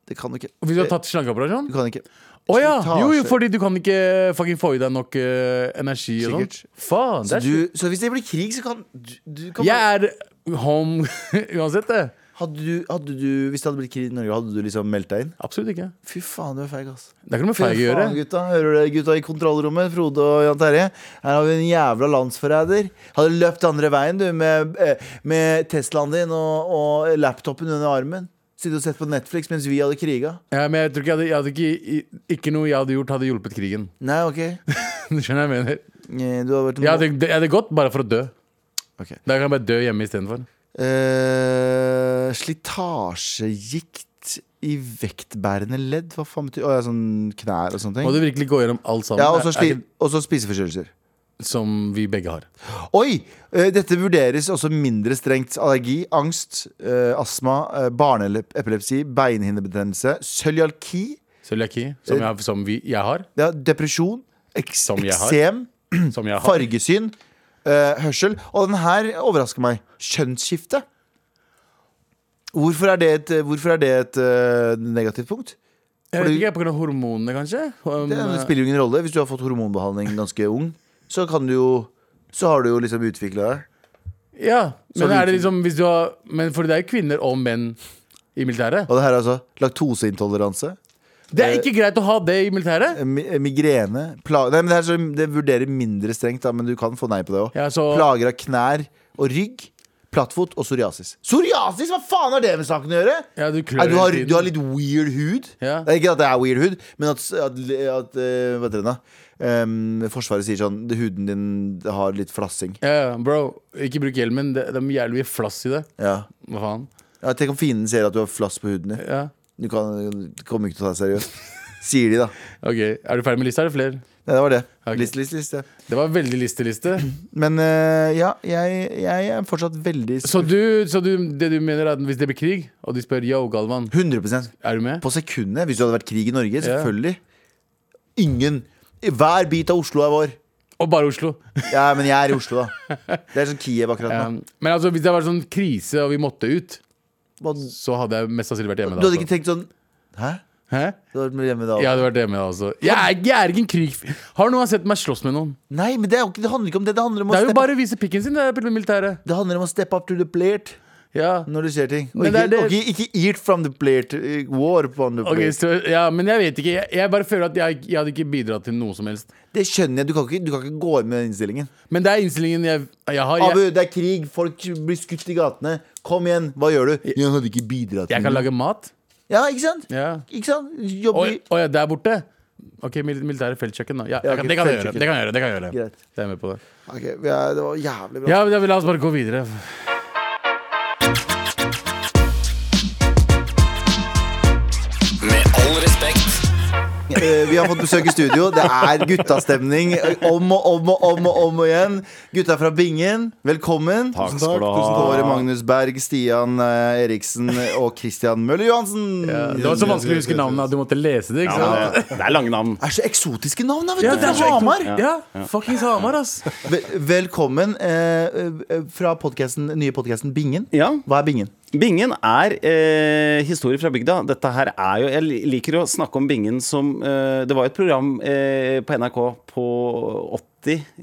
[SPEAKER 2] det kan du ikke.
[SPEAKER 3] Hvis du har
[SPEAKER 2] Det-
[SPEAKER 3] tatt slankeoperasjon?
[SPEAKER 2] Du kan ikke.
[SPEAKER 3] Å ja! Jo, jo,
[SPEAKER 2] Slitasje.
[SPEAKER 3] fordi du kan ikke fucking få i deg nok eh, energi og sånt.
[SPEAKER 2] Sikkert.
[SPEAKER 3] Faen, det
[SPEAKER 2] Så,
[SPEAKER 3] er
[SPEAKER 2] du, så hvis det blir krig, så kan du, du kan
[SPEAKER 3] Jeg er home uansett, det.
[SPEAKER 2] hadde, du, hadde du Hvis det hadde blitt krig i Norge, hadde du liksom meldt deg inn?
[SPEAKER 3] Absolutt ikke.
[SPEAKER 2] Fy faen, du er feig, ass.
[SPEAKER 3] Det er ikke noe med
[SPEAKER 2] Fy
[SPEAKER 3] feig å gjøre.
[SPEAKER 2] faen, gutta. Hører dere gutta i kontrollrommet? Frode og Jan Terje. Her har vi en jævla landsforræder. Hadde løpt andre veien, du, med, eh, med Teslaen din og, og laptopen under armen. Sittet og sett på Netflix mens vi hadde kriga.
[SPEAKER 3] Ja, men jeg tror ikke, jeg hadde, jeg hadde ikke, i- ikke noe jeg hadde gjort, hadde hjulpet krigen.
[SPEAKER 2] Nei, ok. Eh,
[SPEAKER 3] Du skjønner hva jeg mener?
[SPEAKER 2] Du har vært en
[SPEAKER 3] Jeg hadde, jeg hadde gått bare for å dø.
[SPEAKER 2] Ok.
[SPEAKER 3] Da kan jeg bare dø hjemme istedenfor.
[SPEAKER 2] Eh, Slitasjegikt i vektbærende ledd? Hva faen betyr Å, ja, sånn knær og sånne
[SPEAKER 3] Må
[SPEAKER 2] ting?
[SPEAKER 3] du virkelig gå gjennom alt sammen?
[SPEAKER 2] Ja, og så
[SPEAKER 3] Er- er
[SPEAKER 2] sli-
[SPEAKER 3] ikke-
[SPEAKER 2] og så spiseforstyrrelser.
[SPEAKER 3] Som vi begge har.
[SPEAKER 2] Oi! eh, Dette vurderes også mindre strengt. Allergi, angst, eh, astma, eh, barneepilepsi, beinhinnebetennelse, cølialki,
[SPEAKER 3] Cøliaki, som, jeg, som vi, jeg har.
[SPEAKER 2] ja, depresjon, eks
[SPEAKER 3] Som jeg har.
[SPEAKER 2] eksem,
[SPEAKER 3] Som jeg har.
[SPEAKER 2] fargesyn, eh, hørsel. Og den her overrasker meg. Kjønnsskifte. Hvorfor er det et, hvorfor er det et eh, negativt punkt?
[SPEAKER 3] Jeg vet ikke, Pga. hormonene, kanskje? Um,
[SPEAKER 2] Det, det spiller jo ingen rolle. Hvis du har fått hormonbehandling ganske ung, så kan du jo Så har du jo liksom utvikla deg.
[SPEAKER 3] ja,
[SPEAKER 2] Så
[SPEAKER 3] men
[SPEAKER 2] du-
[SPEAKER 3] er det liksom hvis du har Men for det er jo kvinner og menn i militæret.
[SPEAKER 2] Og det her er altså laktoseintoleranse.
[SPEAKER 3] Det er ikke greit å ha det i militæret!
[SPEAKER 2] Mi- eh, Migrene pla- Nei, men det, her, så, det vurderer mindre strengt, da, men du kan få nei på det òg.
[SPEAKER 3] Ja, så-
[SPEAKER 2] Plager av knær og rygg, plattfot og psoriasis. Psoriasis! Hva faen har det med saken å gjøre?
[SPEAKER 3] Ja, du klør
[SPEAKER 2] Nei, du, har,
[SPEAKER 3] hele tiden.
[SPEAKER 2] du har litt weird hud.
[SPEAKER 3] Ja.
[SPEAKER 2] Det er ikke at det er weird hud, men at, at, at eh, Hva heter det da? Em, forsvaret sier sånn det- Huden din har litt flassing.
[SPEAKER 3] Ja, ja, bro, ikke bruk hjelmen. Det, det er jævlig mye flass i det.
[SPEAKER 2] Ja.
[SPEAKER 3] Hva faen?
[SPEAKER 2] Ja, tenk om fienden ser at du har flass på huden din.
[SPEAKER 3] Ja.
[SPEAKER 2] Du kan, du kommer ikke til å ta deg seriøst. Sier de, da.
[SPEAKER 3] Ok, Er du ferdig med lista? Er det flere?
[SPEAKER 2] Nei, det var det.
[SPEAKER 3] Ok.
[SPEAKER 2] List, list, list. Ja.
[SPEAKER 3] Det var veldig liste-liste.
[SPEAKER 2] Men eh, ja, jeg, jeg er fortsatt veldig
[SPEAKER 3] Så, du, så du, det du mener er at hvis det blir krig, og de spør yo, Galvan,
[SPEAKER 2] 100
[SPEAKER 3] er du med?
[SPEAKER 2] På sekundet, hvis det hadde vært krig i Norge, selvfølgelig. Ingen. Hver bit av Oslo er vår.
[SPEAKER 3] Og bare Oslo.
[SPEAKER 2] Ja, men jeg er i Oslo, da. Det er sånn Kiev akkurat nå.
[SPEAKER 3] Um, men altså, hvis det var sånn krise og vi måtte ut,
[SPEAKER 2] Hva-
[SPEAKER 3] så hadde jeg mest sannsynlig vært hjemme
[SPEAKER 2] Du
[SPEAKER 3] da.
[SPEAKER 2] hadde ikke
[SPEAKER 3] Altså.
[SPEAKER 2] tenkt sånn Hæ?
[SPEAKER 3] Hæ?
[SPEAKER 2] Du hadde vært hjemme da
[SPEAKER 3] Jeg hadde vært hjemme da også. Jeg er, jeg er ikke en krig... Har noen sett meg slåss med noen?
[SPEAKER 2] Nei, men det, er jo ikke, det handler ikke om det. Det handler om, å
[SPEAKER 3] Det er jo
[SPEAKER 2] steppe,
[SPEAKER 3] bare å vise pikken sin det er på militæret.
[SPEAKER 2] det handler om å steppe up to the plate
[SPEAKER 3] Ja.
[SPEAKER 2] når du ser ting. Og
[SPEAKER 3] Men
[SPEAKER 2] ikke,
[SPEAKER 3] det er det-
[SPEAKER 2] og ikke, ikke eat from the plate. eh, War from the
[SPEAKER 3] Ok,
[SPEAKER 2] plate.
[SPEAKER 3] så, ja, men jeg vet ikke. Jeg, jeg bare føler at jeg, jeg hadde ikke bidratt til noe som helst.
[SPEAKER 2] Det skjønner jeg. Du kan, ikke, du kan ikke gå inn med den innstillingen.
[SPEAKER 3] Men det er innstillingen jeg, jeg har.
[SPEAKER 2] Abu,
[SPEAKER 3] Jeg,
[SPEAKER 2] det er krig. Folk blir skutt i gatene. Kom igjen. Hva gjør du? Jeg hadde ikke bidratt.
[SPEAKER 3] jeg kan
[SPEAKER 2] noe.
[SPEAKER 3] lage mat.
[SPEAKER 2] Ja, ikke sant?
[SPEAKER 3] Ja.
[SPEAKER 2] Ikke sant? Jobbe i
[SPEAKER 3] Oi, oi, der borte? Ok, mil- militære feltkjøkken, da. Ja,
[SPEAKER 2] Ja,
[SPEAKER 3] jeg kan-
[SPEAKER 2] ok,
[SPEAKER 3] det, kan jeg gjøre,
[SPEAKER 2] feltkjøkken.
[SPEAKER 3] det kan jeg gjøre. Det kan jeg gjøre.
[SPEAKER 2] Greit.
[SPEAKER 3] Det er jeg med på det.
[SPEAKER 2] Ok, vi er, Det var jævlig bra.
[SPEAKER 3] Ja, men da, La oss bare gå videre.
[SPEAKER 4] Med all respekt.
[SPEAKER 2] Eh, Vi har fått besøk i studio. Det er guttastemning om og om og om og om og igjen. Gutta fra Bingen, velkommen.
[SPEAKER 5] Takk skal du ha.
[SPEAKER 2] Tusen takk. Kåre Magnus Berg, Stian eh, Eriksen og Christian Møller Johansen.
[SPEAKER 3] Det var så vanskelig å huske navnet at du måtte lese det. ikke
[SPEAKER 5] Ja,
[SPEAKER 3] sant?
[SPEAKER 5] men det, det er lange navn.
[SPEAKER 2] Det er så eksotiske navn, da! vet
[SPEAKER 3] Ja,
[SPEAKER 2] du, Fra Hamar.
[SPEAKER 3] Ja, fuckings Hamar, ass.
[SPEAKER 2] Vel- Velkommen eh, eh, fra podcasten, nye podkasten Bingen.
[SPEAKER 5] Ja.
[SPEAKER 2] Hva er Bingen?
[SPEAKER 5] Bingen er eh, historie fra bygda. Dette her er jo Jeg liker å snakke om Bingen som eh, Det var et program eh, på NRK på 80.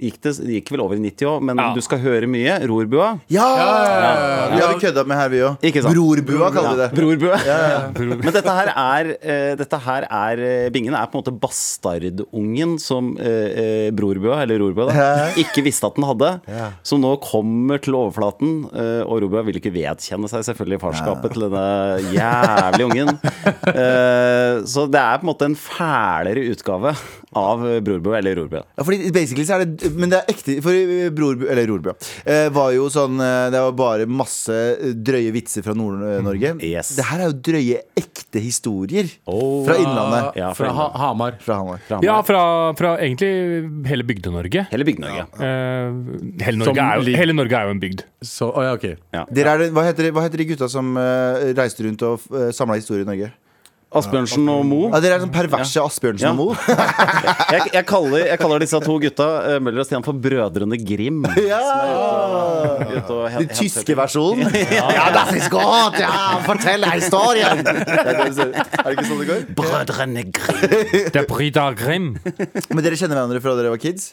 [SPEAKER 5] Gikk det, det gikk vel over i 90 òg, men
[SPEAKER 3] Ja.
[SPEAKER 5] du skal høre mye. Rorbua.
[SPEAKER 2] Ja!
[SPEAKER 3] ja, ja.
[SPEAKER 2] Vi har vi kødda med her, vi òg.
[SPEAKER 5] Ikke sant?
[SPEAKER 2] Brorbua kaller vi
[SPEAKER 5] Ja,
[SPEAKER 2] det.
[SPEAKER 5] Brorbua. Men dette her er, eh, dette her er eh, Bingen er på en måte bastardungen som eh, eh, Brorbua, eller Rorbua, da, ikke visste at den hadde. Som nå kommer til overflaten, eh, og Rorbua vil ikke vedkjenne seg selvfølgelig farskapet til denne jævlige ungen. Eh, så det er på en måte en fælere utgave av eh, Brorbua, eller Rorbua.
[SPEAKER 2] Ja, fordi basically så er det Men det er ekte For eh, Brorbu, eller Rorbu, ja, eh, var jo sånn eh, Det var bare masse eh, drøye vitser fra Nord-Norge.
[SPEAKER 5] Mm, Yes.
[SPEAKER 2] Det her er jo drøye, ekte historier
[SPEAKER 5] Oh.
[SPEAKER 2] fra Innlandet.
[SPEAKER 5] Ja, fra
[SPEAKER 6] fra ha Hamar.
[SPEAKER 2] Fra Hamar.
[SPEAKER 6] Ja, fra, fra egentlig hele Bygde-Norge.
[SPEAKER 5] Hele Bygde-Norge.
[SPEAKER 6] Eh, hele, Norge er jo,
[SPEAKER 3] lig-
[SPEAKER 6] hele Norge er jo en bygd.
[SPEAKER 3] Så, å, ja, ok
[SPEAKER 2] Dere er, det- hva, heter, de- hva heter de gutta som eh, reiste rundt og uh, samla historier i Norge?
[SPEAKER 5] Asbjørnsen og Moe.
[SPEAKER 2] Ja, Dere er sånn perverse Asbjørnsen
[SPEAKER 5] Ja.
[SPEAKER 2] og Moe.
[SPEAKER 5] Jeg, jeg, kaller, jeg kaller disse to gutta, eh, Møller og Stian, for Brødrene Grim.
[SPEAKER 2] Ja!
[SPEAKER 5] Ut og hen-
[SPEAKER 2] Den tyske versjonen. Ja, das ist godt! Ja, fortell historien! Er det ikke sånn det går?
[SPEAKER 5] Brødrene Grimm.
[SPEAKER 6] Det er Brida Grim.
[SPEAKER 2] Men dere kjenner hverandre fra dere var kids?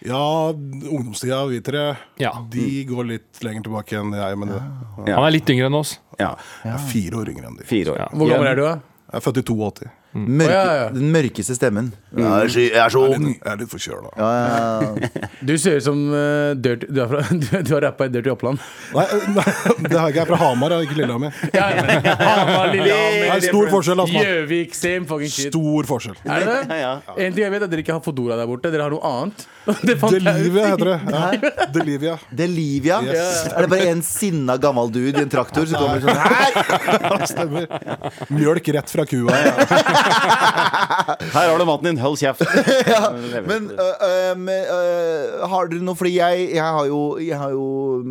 [SPEAKER 7] Ja, ungdomstida, vi tre,
[SPEAKER 6] Ja.
[SPEAKER 7] de går litt lenger tilbake enn jeg. Men jeg
[SPEAKER 6] Han er litt yngre enn oss.
[SPEAKER 5] Ja,
[SPEAKER 7] er fire år yngre enn de.
[SPEAKER 5] fire år.
[SPEAKER 3] Hvor gammel er du, da?
[SPEAKER 7] Jeg er født i 82.
[SPEAKER 2] Mørke,
[SPEAKER 3] Å, ja, ja.
[SPEAKER 2] Den mørkeste stemmen. Jeg er så, jeg Mm. er så
[SPEAKER 7] Jeg er litt- jeg er litt forkjøla.
[SPEAKER 2] Ja, ja, ja.
[SPEAKER 3] Du ser ut som eh, Dirty Du, er fra, du, du har rappa i Dirty Oppland.
[SPEAKER 7] Nei, eh, nei, det har jeg ikke. Jeg er fra Hamar, jeg er ikke Lillehammer. Det
[SPEAKER 3] Hamar,
[SPEAKER 7] er
[SPEAKER 3] Lillehammer,
[SPEAKER 7] stor forskjell, altså.
[SPEAKER 3] Gjøvik, same fucking shit.
[SPEAKER 7] Stor forskjell.
[SPEAKER 3] Er det det?
[SPEAKER 5] Ja,
[SPEAKER 3] En ting jeg vet, er at dere ikke har Fodora der borte. Dere har noe annet. Det fant jeg ut.
[SPEAKER 7] Delivia heter det. Ja. Delivia.
[SPEAKER 2] Delivia.
[SPEAKER 7] Yes.
[SPEAKER 2] Er det bare en sinna gammel dude i en traktor som kommer sånn Hei!
[SPEAKER 7] Stemmer. Mjølk rett fra kua. Ja.
[SPEAKER 5] Her har du maten din, hold kjeft.
[SPEAKER 2] Men øh, øh, men, øh, har dere noe Fordi jeg, jeg, har jo, jeg har jo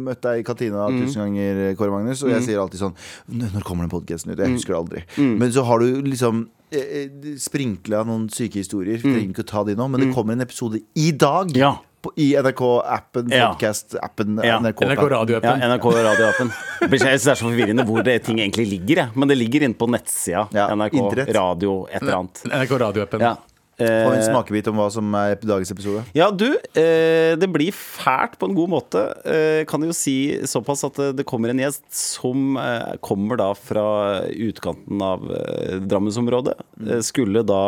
[SPEAKER 2] møtt deg i kantina tusen ganger, Kåre Magnus, og jeg sier alltid sånn «Nå- Når kommer den podkasten ut? Jeg husker det aldri. Men så har du liksom eh, eh, sprinkla noen syke historier. Trenger ikke å ta de nå, men det kommer en episode i dag.
[SPEAKER 5] Ja.
[SPEAKER 2] På, I NRK-appen,
[SPEAKER 5] Ja.
[SPEAKER 2] podcast-appen,
[SPEAKER 5] Ja.
[SPEAKER 3] NRK
[SPEAKER 5] Ja,
[SPEAKER 3] radioappen.
[SPEAKER 5] NRK radioappen. Jeg synes det er så forvirrende hvor det ting egentlig ligger, jeg. Men det ligger inne på nettsida.
[SPEAKER 2] Ja,
[SPEAKER 5] NRK
[SPEAKER 2] internett.
[SPEAKER 5] radio, et eller annet.
[SPEAKER 3] NRK radioappen.
[SPEAKER 5] Ja.
[SPEAKER 2] Og en
[SPEAKER 5] Eh,
[SPEAKER 2] smakebit om hva som er dagens episode.
[SPEAKER 5] Ja, du, eh, det blir fælt på en god måte. Eh, kan jo si såpass at eh, det kommer en gjest som eh, kommer da fra utkanten av eh, Drammensområdet. Eh, skulle da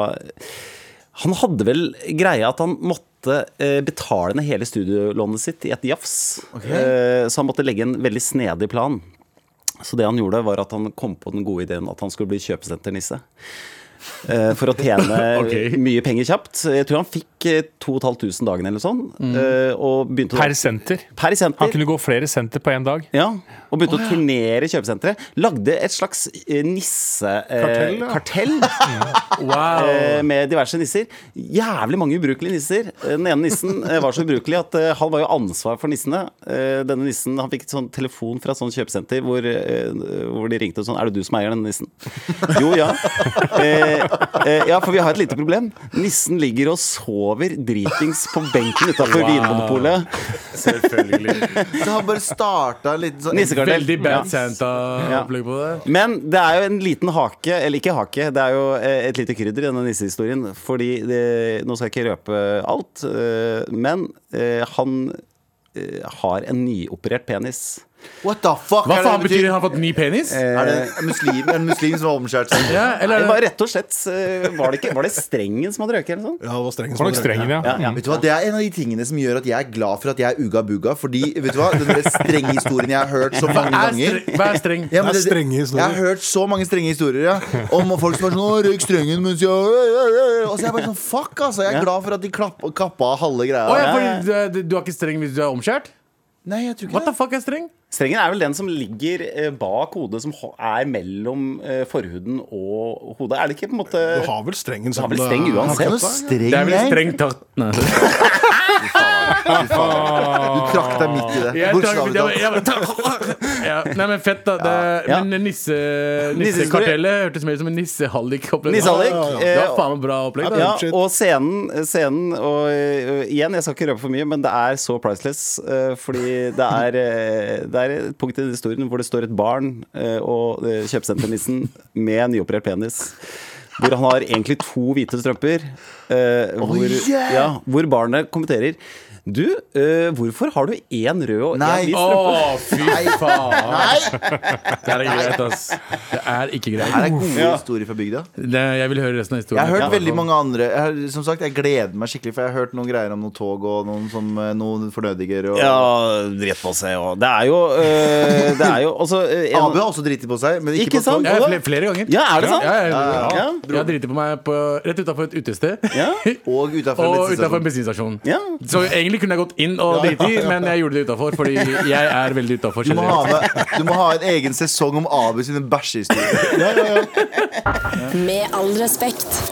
[SPEAKER 5] Han hadde vel greia at han måtte eh, betale ned hele studielånet sitt i et jafs. Eh, så han måtte legge en veldig snedig plan. Så det han gjorde, var at han kom på den gode ideen at han skulle bli kjøpesenternisse. Eh, for å tjene
[SPEAKER 3] Ok.
[SPEAKER 5] mye penger kjapt. Jeg tror han fikk eh, 2500 dagen eller sånn. eh, Og begynte
[SPEAKER 6] Per senter.
[SPEAKER 5] per senter.
[SPEAKER 6] Han kunne gå flere senter på én dag.
[SPEAKER 5] Ja, og begynte å turnere kjøpesenteret. Lagde et slags nissekartell. Eh, kartell,
[SPEAKER 3] Wow.
[SPEAKER 5] eh, med diverse nisser. Jævlig mange ubrukelige nisser. Den ene nissen eh, var så ubrukelig at eh, han var jo ansvar for nissene. Eh, Denne nissen, Han fikk et sånn telefon fra et sånt kjøpesenter hvor, eh, hvor de ringte og sånn Er det du som eier denne nissen? Jo, ja. Eh, eh, Ja, for vi har et lite problem. Nissen ligger og sover dritings på benken utafor Vinmonopolet.
[SPEAKER 2] Så han bare starta en liten sånn
[SPEAKER 5] Nissekartell.
[SPEAKER 3] Veldig Bad
[SPEAKER 5] Ja.
[SPEAKER 3] Santa-opplegg på det.
[SPEAKER 5] Men det er jo en liten hake, eller ikke hake, det er jo eh, et lite krydder i denne nissehistorien. Fordi det, Nå skal jeg ikke røpe alt, eh, men eh, han eh, har en nyoperert penis.
[SPEAKER 2] What the fuck?
[SPEAKER 3] Hva
[SPEAKER 2] er
[SPEAKER 3] faen
[SPEAKER 2] det Eh,
[SPEAKER 3] betyr det? Har han fått ny penis?
[SPEAKER 2] Er det en muslim, en muslim som har omskjært seg?
[SPEAKER 3] Ja, eller er
[SPEAKER 5] Det var
[SPEAKER 3] det
[SPEAKER 5] rett og slett eh, Var det, ikke, var det strengen som hadde røket, eller noe sånt?
[SPEAKER 7] Ja, det var streng
[SPEAKER 6] Det var nok strengen, ja.
[SPEAKER 5] Ja, ja.
[SPEAKER 2] Vet du hva, Det er en av de tingene som gjør at jeg er glad for at jeg er uga buga. Fordi, vet du hva, den der strenge historien jeg har hørt så mange
[SPEAKER 3] Hva er
[SPEAKER 2] ganger
[SPEAKER 3] streng? Hva er streng?
[SPEAKER 2] Ja, men
[SPEAKER 7] Det er strenge historier.
[SPEAKER 2] Jeg har hørt så mange strenge historier ja, om folk som er sånn 'Å, røyk strengen mens jeg Og så er jeg bare sånn Fuck, altså. Jeg er glad for at de klapp, kappa av halve greia.
[SPEAKER 3] Å ja, fordi du, du er ikke streng hvis du er omskjært?
[SPEAKER 2] Nei, jeg tror
[SPEAKER 3] What
[SPEAKER 2] ikke
[SPEAKER 3] the fuck er streng?
[SPEAKER 5] Strengen er vel den som ligger eh, bak hodet, som ho- er mellom eh, forhuden og hodet. Er det ikke på en måte
[SPEAKER 7] Du har vel strengen
[SPEAKER 5] Du har vel streng
[SPEAKER 2] det.
[SPEAKER 5] uansett?
[SPEAKER 2] Noe streng,
[SPEAKER 3] Det er vel
[SPEAKER 2] jeg.
[SPEAKER 3] strengt tatt. Nei.
[SPEAKER 2] Du trakk deg midt i det.
[SPEAKER 3] Jeg tar-
[SPEAKER 2] Bokstavelig
[SPEAKER 3] jeg bare-
[SPEAKER 2] talt.
[SPEAKER 3] jeg bare- Ja, Nei, men fett, da. Det,
[SPEAKER 5] Ja.
[SPEAKER 3] Men nisse, nissekartellet hørtes mer ut som en nissehallik-opplegg.
[SPEAKER 5] Nissehallik,
[SPEAKER 3] Ja, ja, ja. Det
[SPEAKER 5] eh,
[SPEAKER 3] var faen meg bra opplegg.
[SPEAKER 5] Ja,
[SPEAKER 3] Da.
[SPEAKER 7] Shit.
[SPEAKER 5] og scenen, scenen og, ø, Igjen, jeg skal ikke røpe for mye, men det er så priceless. ø, fordi det er, ø, det er et punkt i den historien hvor det står et barn ø, og ø, kjøpesenternissen med nyoperert penis. Hvor han har egentlig to hvite strømper. ø, hvor,
[SPEAKER 2] yeah!
[SPEAKER 5] ja, hvor barnet kommenterer Du, ø, hvorfor har du én rød og
[SPEAKER 2] Nei.
[SPEAKER 5] én hvit strømpe?
[SPEAKER 3] Å, fy faen.
[SPEAKER 2] Nei!
[SPEAKER 3] Det er ikke greit, ass. Det er ikke
[SPEAKER 2] Her
[SPEAKER 3] greit.
[SPEAKER 2] er gode
[SPEAKER 5] Ja.
[SPEAKER 2] historier fra bygda.
[SPEAKER 3] Det, jeg vil høre resten av historien.
[SPEAKER 2] Jeg har hørt veldig mange andre. Jeg, har- som sagt, jeg gleder meg skikkelig, for jeg har hørt noen greier om noen tog og noen, som, eh, noen fornødiger. Og...
[SPEAKER 5] Ja, dritt på seg og Det er jo, ø, det er jo altså, ø, en-
[SPEAKER 2] Abu har også driti på seg, men ikke,
[SPEAKER 5] Ikke
[SPEAKER 2] på tog.
[SPEAKER 5] sant?
[SPEAKER 3] Ja, flere, flere ganger.
[SPEAKER 5] Ja, er det sant?
[SPEAKER 3] Ja, ja, ja.
[SPEAKER 5] Ja.
[SPEAKER 3] Jeg har driti på meg på, rett utafor et utested.
[SPEAKER 5] Ja.
[SPEAKER 2] Og utafor en
[SPEAKER 3] Og utafor en
[SPEAKER 2] bensinstasjon.
[SPEAKER 3] bensinstasjon.
[SPEAKER 5] Ja.
[SPEAKER 3] Så egentlig kunne jeg gått inn og driti, men jeg gjorde det utafor, fordi jeg er veldig utafor.
[SPEAKER 2] Du må, ha med, du må ha en egen sesong om Abu sine bæsjehistorier.
[SPEAKER 8] Med all respekt.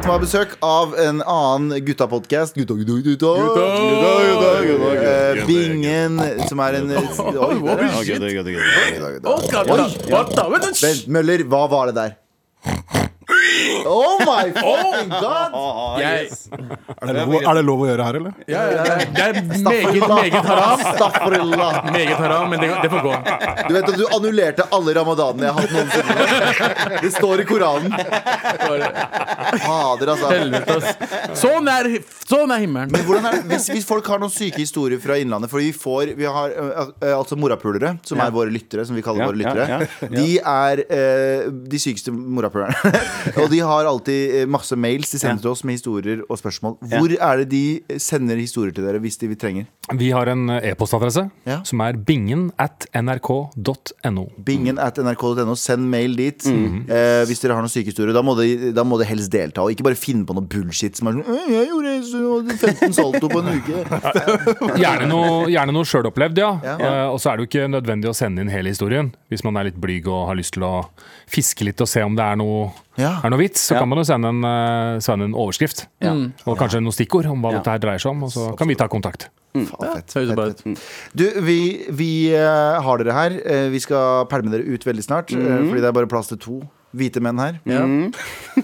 [SPEAKER 2] Som har besøk av en annen guttapodkast. Gutta, gutta, gutta. Gutta, gutta, gutta. Eh, Bingen, som er en Oi,
[SPEAKER 3] Oi,
[SPEAKER 2] der, ja.
[SPEAKER 3] shit.
[SPEAKER 2] Vent, Møller, hva var det der? Oh my fucking god!
[SPEAKER 3] Jeg,
[SPEAKER 7] Er det, lov, er det lov å gjøre her, eller?
[SPEAKER 3] ja, ja, det er- det er meget, meget haram.
[SPEAKER 2] Astaghfirullah.
[SPEAKER 3] Meget haram, men det, det får gå.
[SPEAKER 2] Du vet at du annullerte alle ramadanene jeg har hatt noensinne. Det står i Koranen. Fader, altså.
[SPEAKER 3] Helvete, ass. Sånn er, sånn er himmelen.
[SPEAKER 2] Hvordan er det? Hvis, hvis folk har noen syke historier fra Innlandet Fordi vi får Vi har ø, ø, altså morapulere, som er våre lyttere, som vi kaller
[SPEAKER 5] Ja,
[SPEAKER 2] våre
[SPEAKER 5] ja,
[SPEAKER 2] lyttere. De er ø, de sykeste morapulerne. og de har alltid ø, masse mails de sender til oss med historier og spørsmål. Hvor er det de sender historier til dere hvis de vi trenger?
[SPEAKER 6] Vi har en eh, e-postadresse
[SPEAKER 2] Ja.
[SPEAKER 6] som er bingen at nrk.no.
[SPEAKER 2] Bingen
[SPEAKER 5] Mm.
[SPEAKER 2] at nrk.no. Send mail dit eh, hvis dere har noen syke historier. Da må, de, da må de helst delta, og ikke bare finne på noe bullshit som er sånn «Øh, 'Jeg gjorde så- 15 salto på en uke'.
[SPEAKER 6] Gjerne noe, gjerne noe sjølopplevd, ja.
[SPEAKER 2] Ja.
[SPEAKER 6] Eh, og så er det jo ikke nødvendig å sende inn hele historien. Hvis man er litt blyg og har lyst til å fiske litt og se om det er noe,
[SPEAKER 2] Ja.
[SPEAKER 6] er noe vits, så kan man jo sende en, eh, sende en overskrift.
[SPEAKER 9] Mm.
[SPEAKER 6] Og kanskje noen stikkord om hva dette her dreier seg om, og så kan vi ta kontakt.
[SPEAKER 2] Faen, fett.
[SPEAKER 3] Høres bra ut.
[SPEAKER 2] Du, vi, vi eh, har dere her. Eh, vi skal pælme dere ut veldig snart, eh, fordi det er bare plass til to hvite menn her.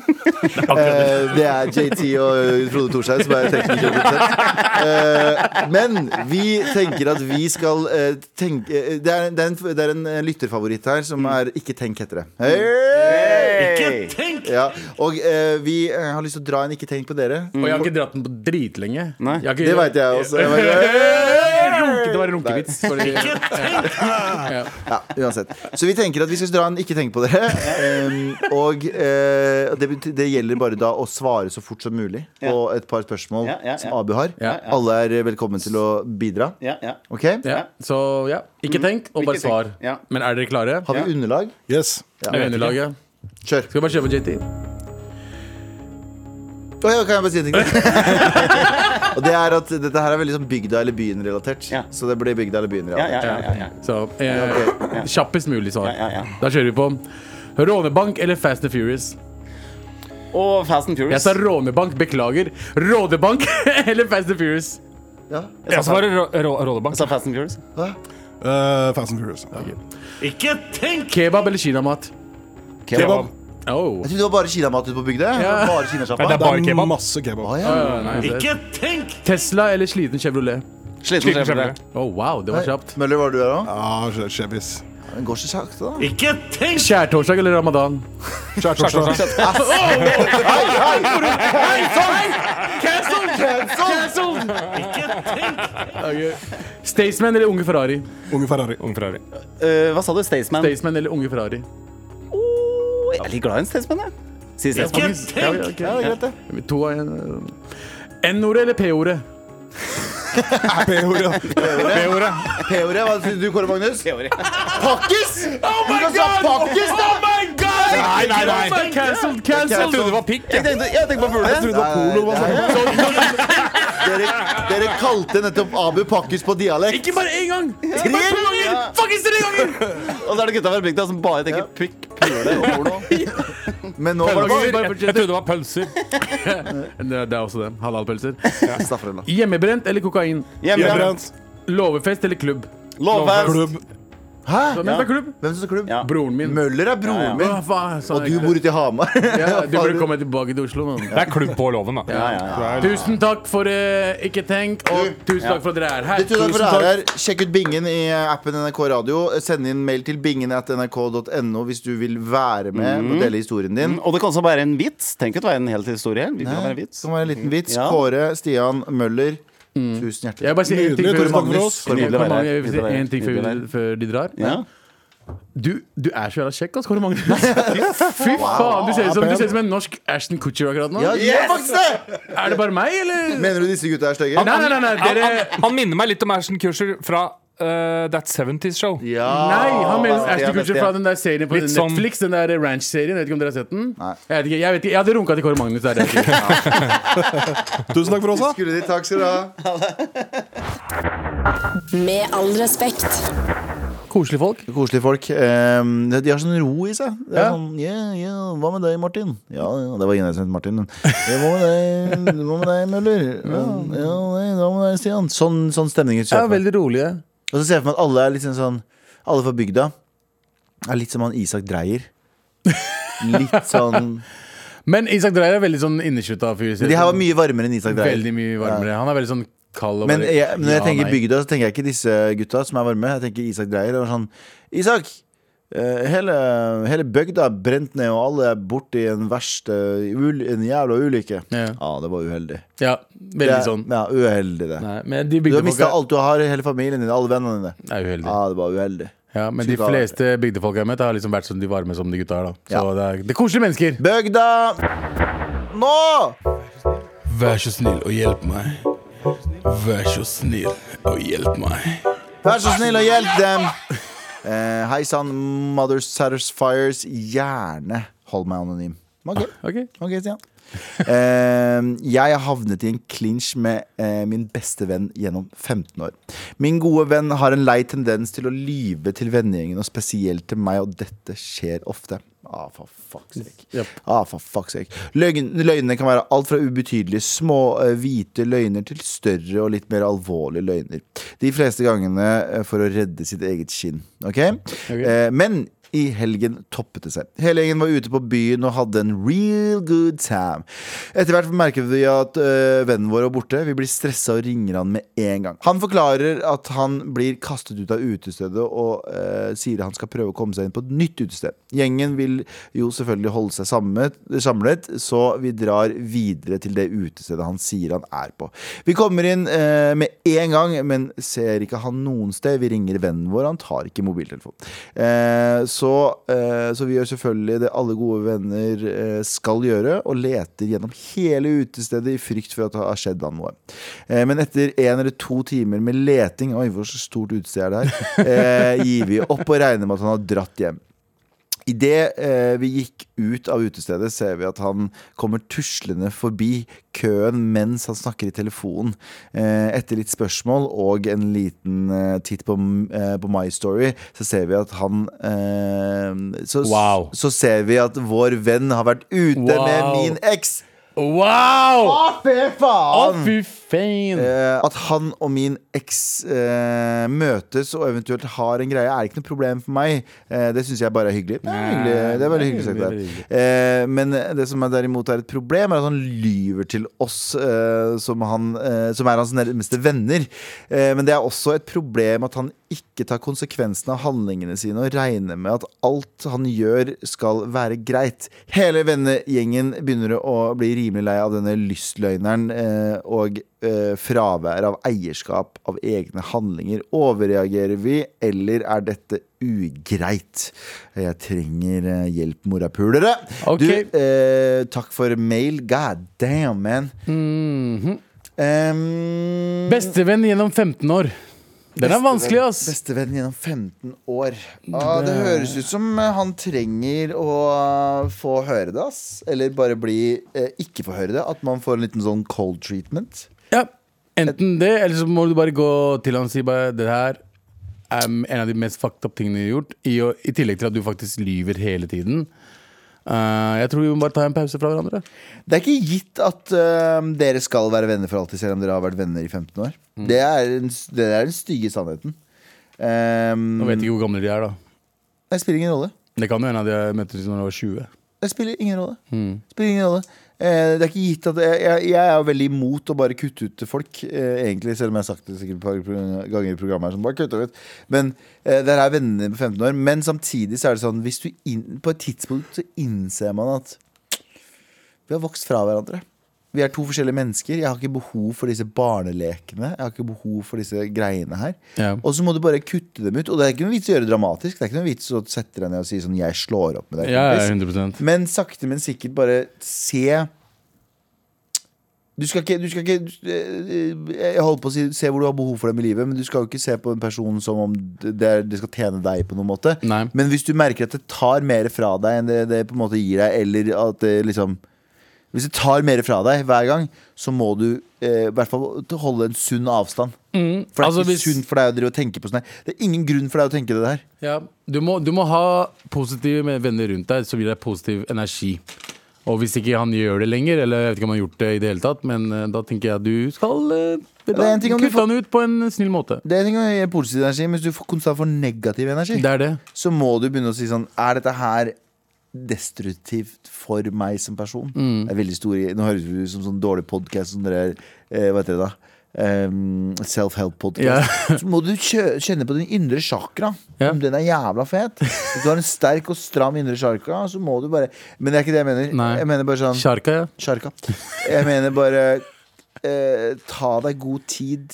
[SPEAKER 2] Eh, det er JT og eh, Frode Thorshaug som er tekniker. og produsent. Eh, men vi tenker at vi skal eh, tenke eh, det, er, det, er en, det er en eh, lytterfavoritt her som er Ikke tenk heter det. Hey! Ja, og eh, vi eh, har lyst til å dra en Ikke tenk på dere.
[SPEAKER 3] Og jeg har ikke dratt den på dritlenge.
[SPEAKER 5] Nei,
[SPEAKER 3] Jeg har ikke-
[SPEAKER 2] Det veit jeg også. Jeg bare,
[SPEAKER 3] Runke, det var en runkevits. fordi-
[SPEAKER 2] Ja, uansett. Så vi tenker at vi skal dra en ikke tenk på dere. Em, og eh, det, bety- det gjelder bare da å svare så fort som mulig på et par spørsmål
[SPEAKER 5] Ja, ja, ja.
[SPEAKER 2] som Abu har.
[SPEAKER 3] Ja, ja.
[SPEAKER 2] Alle er velkommen til å bidra.
[SPEAKER 5] Ja, ja.
[SPEAKER 2] Ok?
[SPEAKER 3] Ja, så ja, ikke tenk, og bare
[SPEAKER 5] Mm. Ikke tenk,
[SPEAKER 3] svar.
[SPEAKER 5] ja.
[SPEAKER 3] Men er dere klare?
[SPEAKER 2] Har vi underlag?
[SPEAKER 7] Yes.
[SPEAKER 3] Er vi underlaget?
[SPEAKER 2] Kjør.
[SPEAKER 3] Skal vi bare kjøpe JT?
[SPEAKER 2] Å ja, kan jeg bare si en ting? og det er at dette her er veldig sånn bygda eller byen-relatert.
[SPEAKER 5] Ja.
[SPEAKER 2] Så det blir bygda eller
[SPEAKER 5] Ja, ja,
[SPEAKER 2] byen-relatert.
[SPEAKER 5] ja, ja, ja.
[SPEAKER 3] Så eh, kjappest mulig svar.
[SPEAKER 5] Ja, ja, ja.
[SPEAKER 3] Da kjører vi på. Rånebank eller Fast and Furious?
[SPEAKER 5] Og Fast and
[SPEAKER 3] Jeg
[SPEAKER 5] Furious.
[SPEAKER 3] sa rånebank, beklager. Rådebank eller Fast and Furious?
[SPEAKER 2] Ja.
[SPEAKER 6] Jeg svarer Rå- Rå- Rådebank.
[SPEAKER 5] Jeg sa Fast and Furious.
[SPEAKER 7] Eh, Fast and Furious.
[SPEAKER 3] Kebab eller kinamat?
[SPEAKER 7] Kebab.
[SPEAKER 3] Oh.
[SPEAKER 2] Jeg trodde det var bare kinamat ute på bygda. jeg.
[SPEAKER 3] Ja.
[SPEAKER 2] Bare
[SPEAKER 6] Nei, det
[SPEAKER 2] kinasjappa.
[SPEAKER 6] er bare
[SPEAKER 7] Det er
[SPEAKER 6] kebab.
[SPEAKER 7] masse kebab.
[SPEAKER 2] Å, ja.
[SPEAKER 3] Ikke tenk! Tesla eller sliten Chevrolet?
[SPEAKER 5] Sliten skjebne.
[SPEAKER 3] Oh, wow, det var kjapt.
[SPEAKER 2] Møller, var du her òg?
[SPEAKER 7] Ja, skje- Chevis.
[SPEAKER 2] Den går så sakte, da.
[SPEAKER 3] Skjærtorsdag eller ramadan?
[SPEAKER 7] Skjærtorsdag.
[SPEAKER 3] Cancelled! Okay. Staysman eller Unge Ferrari?
[SPEAKER 7] Unge Ferrari.
[SPEAKER 6] Ung Ferrari.
[SPEAKER 5] Eh, hva sa du? Staysman?
[SPEAKER 3] Staysman eller Unge Ferrari?
[SPEAKER 5] Åh, jeg er litt glad i en Staysman, jeg. Si Staysman.
[SPEAKER 3] Ja, ja, ok. To av en eh, N-ordet eller P-ordet?
[SPEAKER 7] P-ordet.
[SPEAKER 2] P-ordet. P-ordet, Hva trodde du, Kåre Magnus? Pakkis! du kan si pakkis, da!
[SPEAKER 3] Nei, nei, nei! Cancelled, cancelled!
[SPEAKER 2] trodde
[SPEAKER 6] Det var pikk.
[SPEAKER 5] Jeg tenkte jeg tenkte på fugler.
[SPEAKER 7] Jeg trodde det var polo. hva sa du?
[SPEAKER 2] Dere, dere kalte nettopp Abu pakkis på dialekt.
[SPEAKER 3] Ikke bare én gang!
[SPEAKER 2] Tre ganger!
[SPEAKER 3] Fuckings tre ganger!
[SPEAKER 5] Og så er det gutta fra bygda som bare tenker pikk, pule og porno.
[SPEAKER 2] Men nå var det
[SPEAKER 3] Bare-
[SPEAKER 2] bare
[SPEAKER 3] bare
[SPEAKER 6] Jeg jeg
[SPEAKER 3] fortsett.
[SPEAKER 6] trodde det var pølser.
[SPEAKER 3] Det er det er også det. Halalpølser.
[SPEAKER 2] Staffrella.
[SPEAKER 3] Hjemmebrent eller kokain?
[SPEAKER 5] Hjemmebrent.
[SPEAKER 7] Hjemmebrent.
[SPEAKER 3] Låvefest eller klubb?
[SPEAKER 5] Lovfest.
[SPEAKER 7] Klubb.
[SPEAKER 2] Hæ?
[SPEAKER 3] Hvem er klubb?
[SPEAKER 2] Hvem som klubb?
[SPEAKER 5] Ja.
[SPEAKER 3] Broren min.
[SPEAKER 2] Møller er broren
[SPEAKER 5] Ja,
[SPEAKER 2] min.
[SPEAKER 3] Hva faen, sa
[SPEAKER 2] Og
[SPEAKER 3] jeg
[SPEAKER 2] du
[SPEAKER 3] ikke.
[SPEAKER 2] bor ute i Hamar.
[SPEAKER 3] Ja, du burde
[SPEAKER 2] Faen,
[SPEAKER 3] komme tilbake til Oslo. mann.
[SPEAKER 6] Det er klubb på loven, da.
[SPEAKER 5] Ja, ja, ja.
[SPEAKER 3] Tusen takk for eh, Ikke tenk, og tusen takk for at dere er her.
[SPEAKER 2] Tusen takk for at dere er her. Sjekk ut Bingen i appen NRK Radio. Send inn mail til bingen.nrk.no hvis du vil være med og dele historien din.
[SPEAKER 5] Og Mm. det kan også være en vits. Tenk ut hva en hel historie her. Det
[SPEAKER 2] Nei,
[SPEAKER 5] kan være en
[SPEAKER 2] Det
[SPEAKER 5] vits.
[SPEAKER 2] kan være en liten vits.
[SPEAKER 5] Ja.
[SPEAKER 2] Kåre, Stian, Møller. Tusen hjertelig.
[SPEAKER 3] Mm. Jeg vil bare si en ting
[SPEAKER 7] Nydelig,
[SPEAKER 3] før-
[SPEAKER 7] tusen takk for oss.
[SPEAKER 2] Kåre
[SPEAKER 5] Nydelig. å være her.
[SPEAKER 3] Jeg vil
[SPEAKER 5] Nydelig å
[SPEAKER 3] si
[SPEAKER 5] være her.
[SPEAKER 3] en ting før,
[SPEAKER 5] Nydelig å være
[SPEAKER 3] før de drar.
[SPEAKER 5] Ja.
[SPEAKER 3] Du, du er så jævla kjekk, ass, Kåre Magnus. Fy faen, du ser ut som, du ser ut som en norsk Ashton Kutcher akkurat nå.
[SPEAKER 2] Ja, de gjør faktisk det!
[SPEAKER 3] Er det bare meg, eller?
[SPEAKER 2] Mener du disse gutta er stygge?
[SPEAKER 3] Nei, nei, nei, nei
[SPEAKER 6] Han,
[SPEAKER 3] dere
[SPEAKER 6] han, han minner meg litt om Ashton Kutcher fra eh, That 70's Show.
[SPEAKER 2] Ja.
[SPEAKER 3] Nei, han mener
[SPEAKER 2] Beste,
[SPEAKER 3] Ashton
[SPEAKER 2] beste.
[SPEAKER 3] Kutcher fra den der serien på
[SPEAKER 6] Litt sånn-
[SPEAKER 3] Netflix. Den der Ranch-serien. Vet ikke om dere har sett den?
[SPEAKER 2] Nei.
[SPEAKER 3] Jeg vet ikke, jeg, vet ikke, jeg hadde runka til Kåre Magnus der. jeg vet ikke.
[SPEAKER 7] Tusen takk for oss, da.
[SPEAKER 2] Skulle de, takk skal du ha.
[SPEAKER 8] Med all respekt.
[SPEAKER 3] Koselige folk.
[SPEAKER 2] Koselige folk. Ehm, de har sånn ro i seg. Det er
[SPEAKER 3] Ja.
[SPEAKER 2] sånn, yeah, yeah, Hva med deg, Martin? Ja, ja det var ingen som het Martin. Men. Ja, hva, med deg, hva med deg, Møller? Ja, ja, nei, hva med deg, Stian? Sånn, sånn stemning. ser jeg for meg.
[SPEAKER 3] veldig rolige.
[SPEAKER 2] Og så ser jeg for meg at alle er litt sånn sånn Alle fra bygda er litt som han Isak Dreyer. Litt sånn
[SPEAKER 3] Men Isak Dreyer er veldig sånn inneslutta fyr.
[SPEAKER 2] Men de her var mye varmere enn Isak Dreyer.
[SPEAKER 3] sånn Veldig mye varmere. Han er veldig sånn kald og
[SPEAKER 2] Men
[SPEAKER 3] bare-
[SPEAKER 2] jeg, når jeg
[SPEAKER 3] ja,
[SPEAKER 2] tenker
[SPEAKER 3] nei.
[SPEAKER 2] bygda, så tenker jeg ikke disse gutta som er varme. Jeg tenker Isak Dreyer. Det var sånn Isak! eh, Hele, hele bygda er brent ned, og alle er borte i en verst eh, ul, En jævla ulykke.
[SPEAKER 3] Ja.
[SPEAKER 2] Ja, det var uheldig.
[SPEAKER 3] Ja, veldig
[SPEAKER 2] Det er-
[SPEAKER 3] sånn.
[SPEAKER 2] Ja, uheldig, det.
[SPEAKER 3] Nei, men de
[SPEAKER 2] Du har mista
[SPEAKER 3] bygdefolka
[SPEAKER 2] alt du har, hele familien din, alle vennene dine.
[SPEAKER 3] er uheldig.
[SPEAKER 2] Ja, det var uheldig.
[SPEAKER 3] Ja, men
[SPEAKER 2] Skulle
[SPEAKER 3] de
[SPEAKER 2] ikke ha vært
[SPEAKER 3] fleste bygdefolk jeg har møtt, har liksom vært som de varme som de gutta er. da Så
[SPEAKER 2] Ja.
[SPEAKER 3] det, er, det er koselige mennesker.
[SPEAKER 2] Bygda! Nå!
[SPEAKER 3] Vær så snill og hjelp meg. Vær så snill og hjelp meg.
[SPEAKER 2] Vær så snill og hjelp dem! Eh, Hei sann, Mother Satisfiers. Gjerne hold meg anonym. Okay.
[SPEAKER 3] Ok
[SPEAKER 2] Ok, Stian. Eh, jeg har havnet i en clinch med eh, min beste venn gjennom 15 år. Min gode venn har en lei tendens til å lyve til vennegjengen, og spesielt til meg, og dette skjer ofte. Ah, for fuck's sake.
[SPEAKER 3] Yep.
[SPEAKER 2] Ah, for fuck's sake. Løgn, løgnene kan være alt fra ubetydelige små eh, hvite løgner til større og litt mer alvorlige løgner. De fleste gangene eh, for å redde sitt eget skinn. Ok? Eh, men i helgen toppet det seg. Hele gjengen var ute på byen og hadde en real good time. Etter hvert merker vi at eh, vennen vår er borte. Vi blir stressa og ringer han med en gang. Han forklarer at han blir kastet ut av utestedet og eh, sier han skal prøve å komme seg inn på et nytt utested. Gjengen vil jo selvfølgelig holde seg samlet, samlet så vi drar videre til det utestedet han sier han er på. Vi kommer inn eh, med en gang, men ser ikke han noen sted. Vi ringer vennen vår, han tar ikke mobiltelefon. Eh, så, eh, så vi gjør selvfølgelig det alle gode venner eh, skal gjøre, og leter gjennom hele utestedet i frykt for at det har skjedd han noe. Eh, men etter en eller to timer med leting, oi, hvor så stort utested er det her, eh, gir vi opp og regner med at han har dratt hjem. Idet eh, vi gikk ut av utestedet, ser vi at han kommer tuslende forbi køen mens han snakker i telefonen. Eh, etter litt spørsmål og en liten eh, titt på, eh, på My Story, så ser vi at han eh, så,
[SPEAKER 3] Wow.
[SPEAKER 2] så ser vi at vår venn har vært ute med
[SPEAKER 3] Wow.
[SPEAKER 2] min eks!
[SPEAKER 3] Wow!
[SPEAKER 2] Å, fy
[SPEAKER 3] Å,
[SPEAKER 2] faen!
[SPEAKER 3] fy faen!
[SPEAKER 2] Eh, at han og min eks eh, møtes og eventuelt har en greie, er ikke noe problem for meg. Eh, det syns jeg bare er hyggelig. Det er, hyggelig. Det er veldig hyggelig sagt.
[SPEAKER 3] veldig
[SPEAKER 2] Der. Eh, men det som er derimot er et problem, er at han lyver til oss, eh, som, han, eh, som er hans nærmeste venner. Eh, men det er også et problem at han ikke tar konsekvensen av handlingene sine og regner med at alt han gjør, skal være greit. Hele vennegjengen begynner å bli rimelig lei av denne lystløgneren eh, og eh, fravær av eierskap av egne handlinger. Overreagerer vi, eller er dette ugreit? Jeg trenger eh, hjelp, morapulere.
[SPEAKER 3] Ok.
[SPEAKER 2] Du, eh, takk for mail. God damn, man. Em,
[SPEAKER 3] Bestevenn gjennom 15 år. Den er vanskelig, ass.
[SPEAKER 2] Bestevenn gjennom 15 år. Ah, det høres ut som eh, han trenger å eh, få høre det, ass. Eller bare bli eh, ikke få høre det. At man får en liten sånn cold treatment.
[SPEAKER 3] Ja. Enten det, eller så må du bare gå til han og si bare det her er en av de mest fucked up tingene du har gjort. I, å- I tillegg til at du faktisk lyver hele tiden. Eh, jeg tror vi må bare ta en pause fra hverandre.
[SPEAKER 2] Det er ikke gitt at eh, dere skal være venner for alltid, selv om dere har vært venner i 15 år.
[SPEAKER 3] Mm.
[SPEAKER 2] Det, er en, det er den stygge sannheten. Em,
[SPEAKER 3] Nå vet jeg ikke hvor gamle de er, da.
[SPEAKER 2] Det spiller ingen rolle.
[SPEAKER 3] Det kan jo hende at jeg møttes når jeg var 20.
[SPEAKER 2] Det spiller ingen rolle.
[SPEAKER 3] Mm.
[SPEAKER 2] Spiller ingen rolle. Eh, det er ikke gitt at jeg, jeg, jeg er jo veldig imot å bare kutte ut til folk, eh, egentlig, selv om jeg har sagt det sikkert et par pro- ganger i programmet. her sånn, bare kutte ut. Men eh, der er vennene på 15 år. Men samtidig så er det sånn hvis du inn, på et tidspunkt så innser man at vi har vokst fra hverandre. Vi er to forskjellige mennesker. Jeg har ikke behov for disse barnelekene. Jeg har ikke behov for disse greiene her.
[SPEAKER 3] Ja.
[SPEAKER 2] Og så må du bare kutte dem ut. Og det er ikke noe vits å gjøre det dramatisk. Det er ikke noe vits å sette deg ned og si sånn 'jeg slår opp med deg'.
[SPEAKER 3] Ja, ja,
[SPEAKER 2] kompis».
[SPEAKER 3] 100%
[SPEAKER 2] Men sakte, men sikkert bare se du skal ikke, du skal ikke du- eh, Jeg holdt på å si se hvor du har behov for dem i livet, men du skal jo ikke se på en person som om det, er, det skal tjene deg på noen måte.
[SPEAKER 3] Nei.
[SPEAKER 2] Men hvis du merker at det tar mer fra deg enn det, det på en måte gir deg, eller at det liksom Hvis det tar mer fra deg hver gang, så må du eh, i hvert fall holde en sunn avstand. For det er
[SPEAKER 3] Altså,
[SPEAKER 2] ikke
[SPEAKER 3] hvis-
[SPEAKER 2] sunt for deg å drive og tenke på sånn her. Det er ingen grunn for deg å tenke det der.
[SPEAKER 3] Ja, du må, du må ha positive med- venner rundt deg, så gir det positiv energi. Og hvis ikke han gjør det lenger, eller jeg vet ikke om han har gjort det i det hele tatt, men eh, da tenker jeg at du skal eh, vet du
[SPEAKER 2] Det er en ting
[SPEAKER 3] hva,
[SPEAKER 2] om du
[SPEAKER 3] kutte han ut på en snill måte.
[SPEAKER 2] Det er en ting å gi positiv energi, men hvis du får- konstant får negativ energi
[SPEAKER 3] Det er det.
[SPEAKER 2] så må du begynne å si sånn Er dette her destruktivt for meg som person.
[SPEAKER 3] Mm.
[SPEAKER 2] Det er veldig stor, Nå høres det ut som sånn dårlig podkast som dere er, eh, hva heter det da? Um, Self-help-podkast.
[SPEAKER 3] Ja.
[SPEAKER 2] Så må du kjø- kjenne på din indre chakra.
[SPEAKER 3] Ja.
[SPEAKER 2] Om den er jævla fet. Hvis du har en sterk og stram indre chakra, så må du bare Men det er ikke det jeg mener.
[SPEAKER 3] Nei.
[SPEAKER 2] Jeg mener bare sånn
[SPEAKER 3] Sjarka, ja.
[SPEAKER 2] Sjarka. Jeg mener bare eh, Ta deg god tid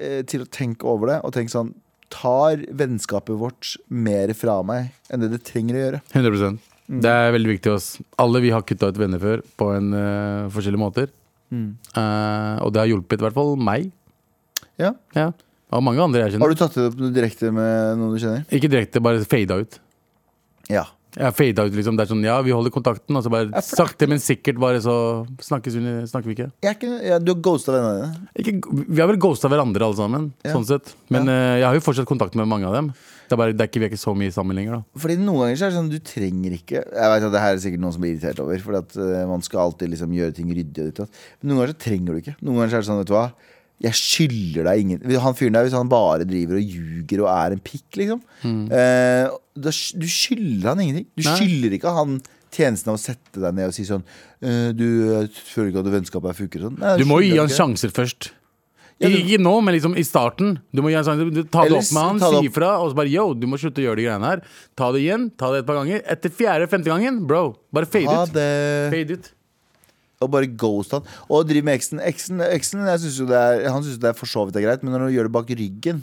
[SPEAKER 2] eh, til å tenke over det, og tenk sånn Tar vennskapet vårt mer fra meg enn det det trenger å gjøre?
[SPEAKER 3] 100 Det er veldig viktig. Oss. Alle vi har kutta ut venner før på en, eh, forskjellige måter.
[SPEAKER 2] Mm.
[SPEAKER 3] Eh, og det har hjulpet i hvert fall meg.
[SPEAKER 2] Ja.
[SPEAKER 3] Ja. Og mange andre jeg
[SPEAKER 2] Har
[SPEAKER 3] kjenner.
[SPEAKER 2] du tatt det opp noe direkte med noen du kjenner?
[SPEAKER 3] Ikke direkte, bare fada ut.
[SPEAKER 2] Ja.
[SPEAKER 3] Jeg har fadet ut liksom, det er sånn, ja, Vi holder kontakten, og så bare sakte, men sikkert bare så snakkes vi, snakker vi ikke.
[SPEAKER 2] Jeg er ikke, ja du har ghosta vennene dine?
[SPEAKER 3] ikke vi har vel ghosta hverandre, alle sammen.
[SPEAKER 2] Ja.
[SPEAKER 3] sånn sett Men eh, jeg har jo fortsatt kontakt med mange av dem. Det er bare, det er ikke, vi er ikke så mye sammen lenger. da
[SPEAKER 2] Fordi noen ganger så er det sånn du trenger ikke Jeg vet at det her er sikkert noen som blir irritert over, Fordi at eh, man skal alltid liksom gjøre ting ryddig. Og ditt og datt. Men noen ganger så trenger du ikke. Noen ganger så er det sånn, vet du hva jeg skylder deg ingen Han fyren der, hvis han bare driver og ljuger og er en pikk, liksom eh, da, sk- Du skylder han ingenting. Du
[SPEAKER 3] Mm. Nei.
[SPEAKER 2] skylder ikke han tjenesten av å sette deg ned og si sånn eh, Du jeg føler ikke at vennskapet her funker og sånn. Nei,
[SPEAKER 3] Du må jo gi
[SPEAKER 2] skylder
[SPEAKER 3] han
[SPEAKER 2] ikke.
[SPEAKER 3] sjanser først.
[SPEAKER 2] Ja, du-
[SPEAKER 3] Ikke nå, men liksom i starten. Du må gi han sjanser. Du, ta det
[SPEAKER 2] Ellers,
[SPEAKER 3] opp med han,
[SPEAKER 2] ta det
[SPEAKER 3] si
[SPEAKER 2] opp.
[SPEAKER 3] ifra, og så bare yo, du må slutte å gjøre de greiene her. Ta det igjen, ta det et par ganger. Etter fjerde-femte gangen, bro, bare fade
[SPEAKER 2] Ha
[SPEAKER 3] ut.
[SPEAKER 2] det.
[SPEAKER 3] Fade ut.
[SPEAKER 2] Og bare ghost han. Og driv med eksen. Eksen, eksen jeg synes jo det er, han syns det er for så vidt er greit, men når du gjør det bak ryggen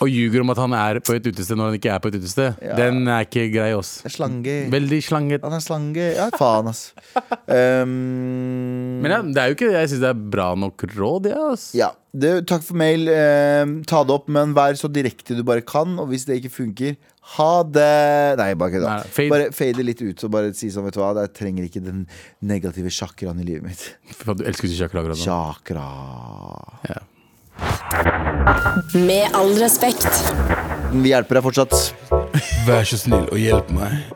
[SPEAKER 3] Og ljuger om at han er på et utested når han ikke er på et utested. Den er ikke grei, ass.
[SPEAKER 2] det er Slange.
[SPEAKER 3] Veldig slanget.
[SPEAKER 2] Han er slange. Ja, faen, ass. Um,
[SPEAKER 3] Men ja, det er jo ikke Jeg syns det er bra nok råd, jeg, ass.
[SPEAKER 2] ja. Du, takk for mail. Um, ta det opp, men vær så direkte du bare kan. Og hvis det ikke funker, ha det. Nei, bare kødda.
[SPEAKER 3] Nei, fade.
[SPEAKER 2] Bare fade litt ut og bare si sånn, vet du hva, jeg trenger ikke den negative chakraen i livet mitt.
[SPEAKER 3] Fy faen, Du elsker ikke akkurat nå.
[SPEAKER 2] Chakra.
[SPEAKER 3] Ja.
[SPEAKER 8] Med all respekt.
[SPEAKER 2] Vi hjelper deg fortsatt.
[SPEAKER 3] Vær så snill og hjelp meg.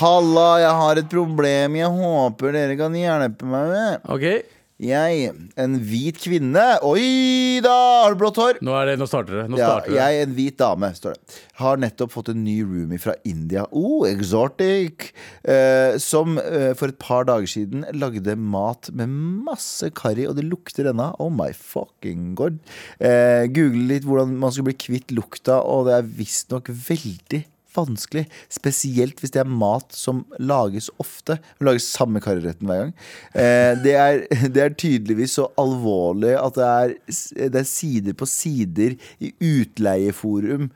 [SPEAKER 2] Halla, jeg har et problem jeg håper dere kan hjelpe meg med.
[SPEAKER 3] Ok,
[SPEAKER 2] Jeg, en hvit kvinne Oi da, har du blått hår?
[SPEAKER 3] nå, er det, nå starter det. Nå
[SPEAKER 2] Ja,
[SPEAKER 3] starter det.
[SPEAKER 2] jeg, en hvit dame, står det. Har nettopp fått en ny roomie fra India. Oh, exotic! Eh, som eh, for et par dager siden lagde mat med masse karri, og det lukter ennå. Oh my fucking god. Eh, Google litt hvordan man skal bli kvitt lukta, og det er visstnok veldig vanskelig. Spesielt hvis det er mat som lages ofte. Hun lager samme karriretten hver gang. Eh, det, er, det er tydeligvis så alvorlig at det er, s- det er sider på sider i utleieforum.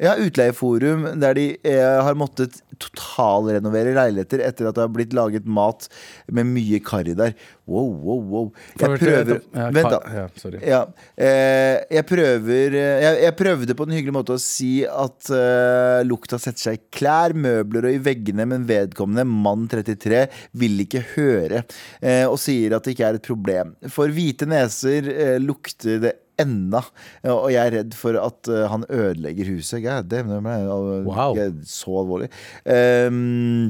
[SPEAKER 2] Ja, utleieforum der de eh, har måttet totalrenovere leiligheter etter at det har blitt laget mat med mye karri der. Wow, wow, wow. Jeg prøver
[SPEAKER 3] Ja,
[SPEAKER 2] Vent, da.
[SPEAKER 3] kar- ja, sorry.
[SPEAKER 2] Ja. Eh, jeg prøver eh, jeg, jeg prøvde på en hyggelig måte å si at eh, lukta setter seg i klær, møbler og i veggene, men vedkommende, mann 33, vil ikke høre. Eh, og sier at det ikke er et problem. For hvite neser eh, lukter det ennå. Ja, Og jeg er redd for at eh, han ødelegger huset. God damn, det ble al-
[SPEAKER 3] Wow.
[SPEAKER 2] så alvorlig. Ehm,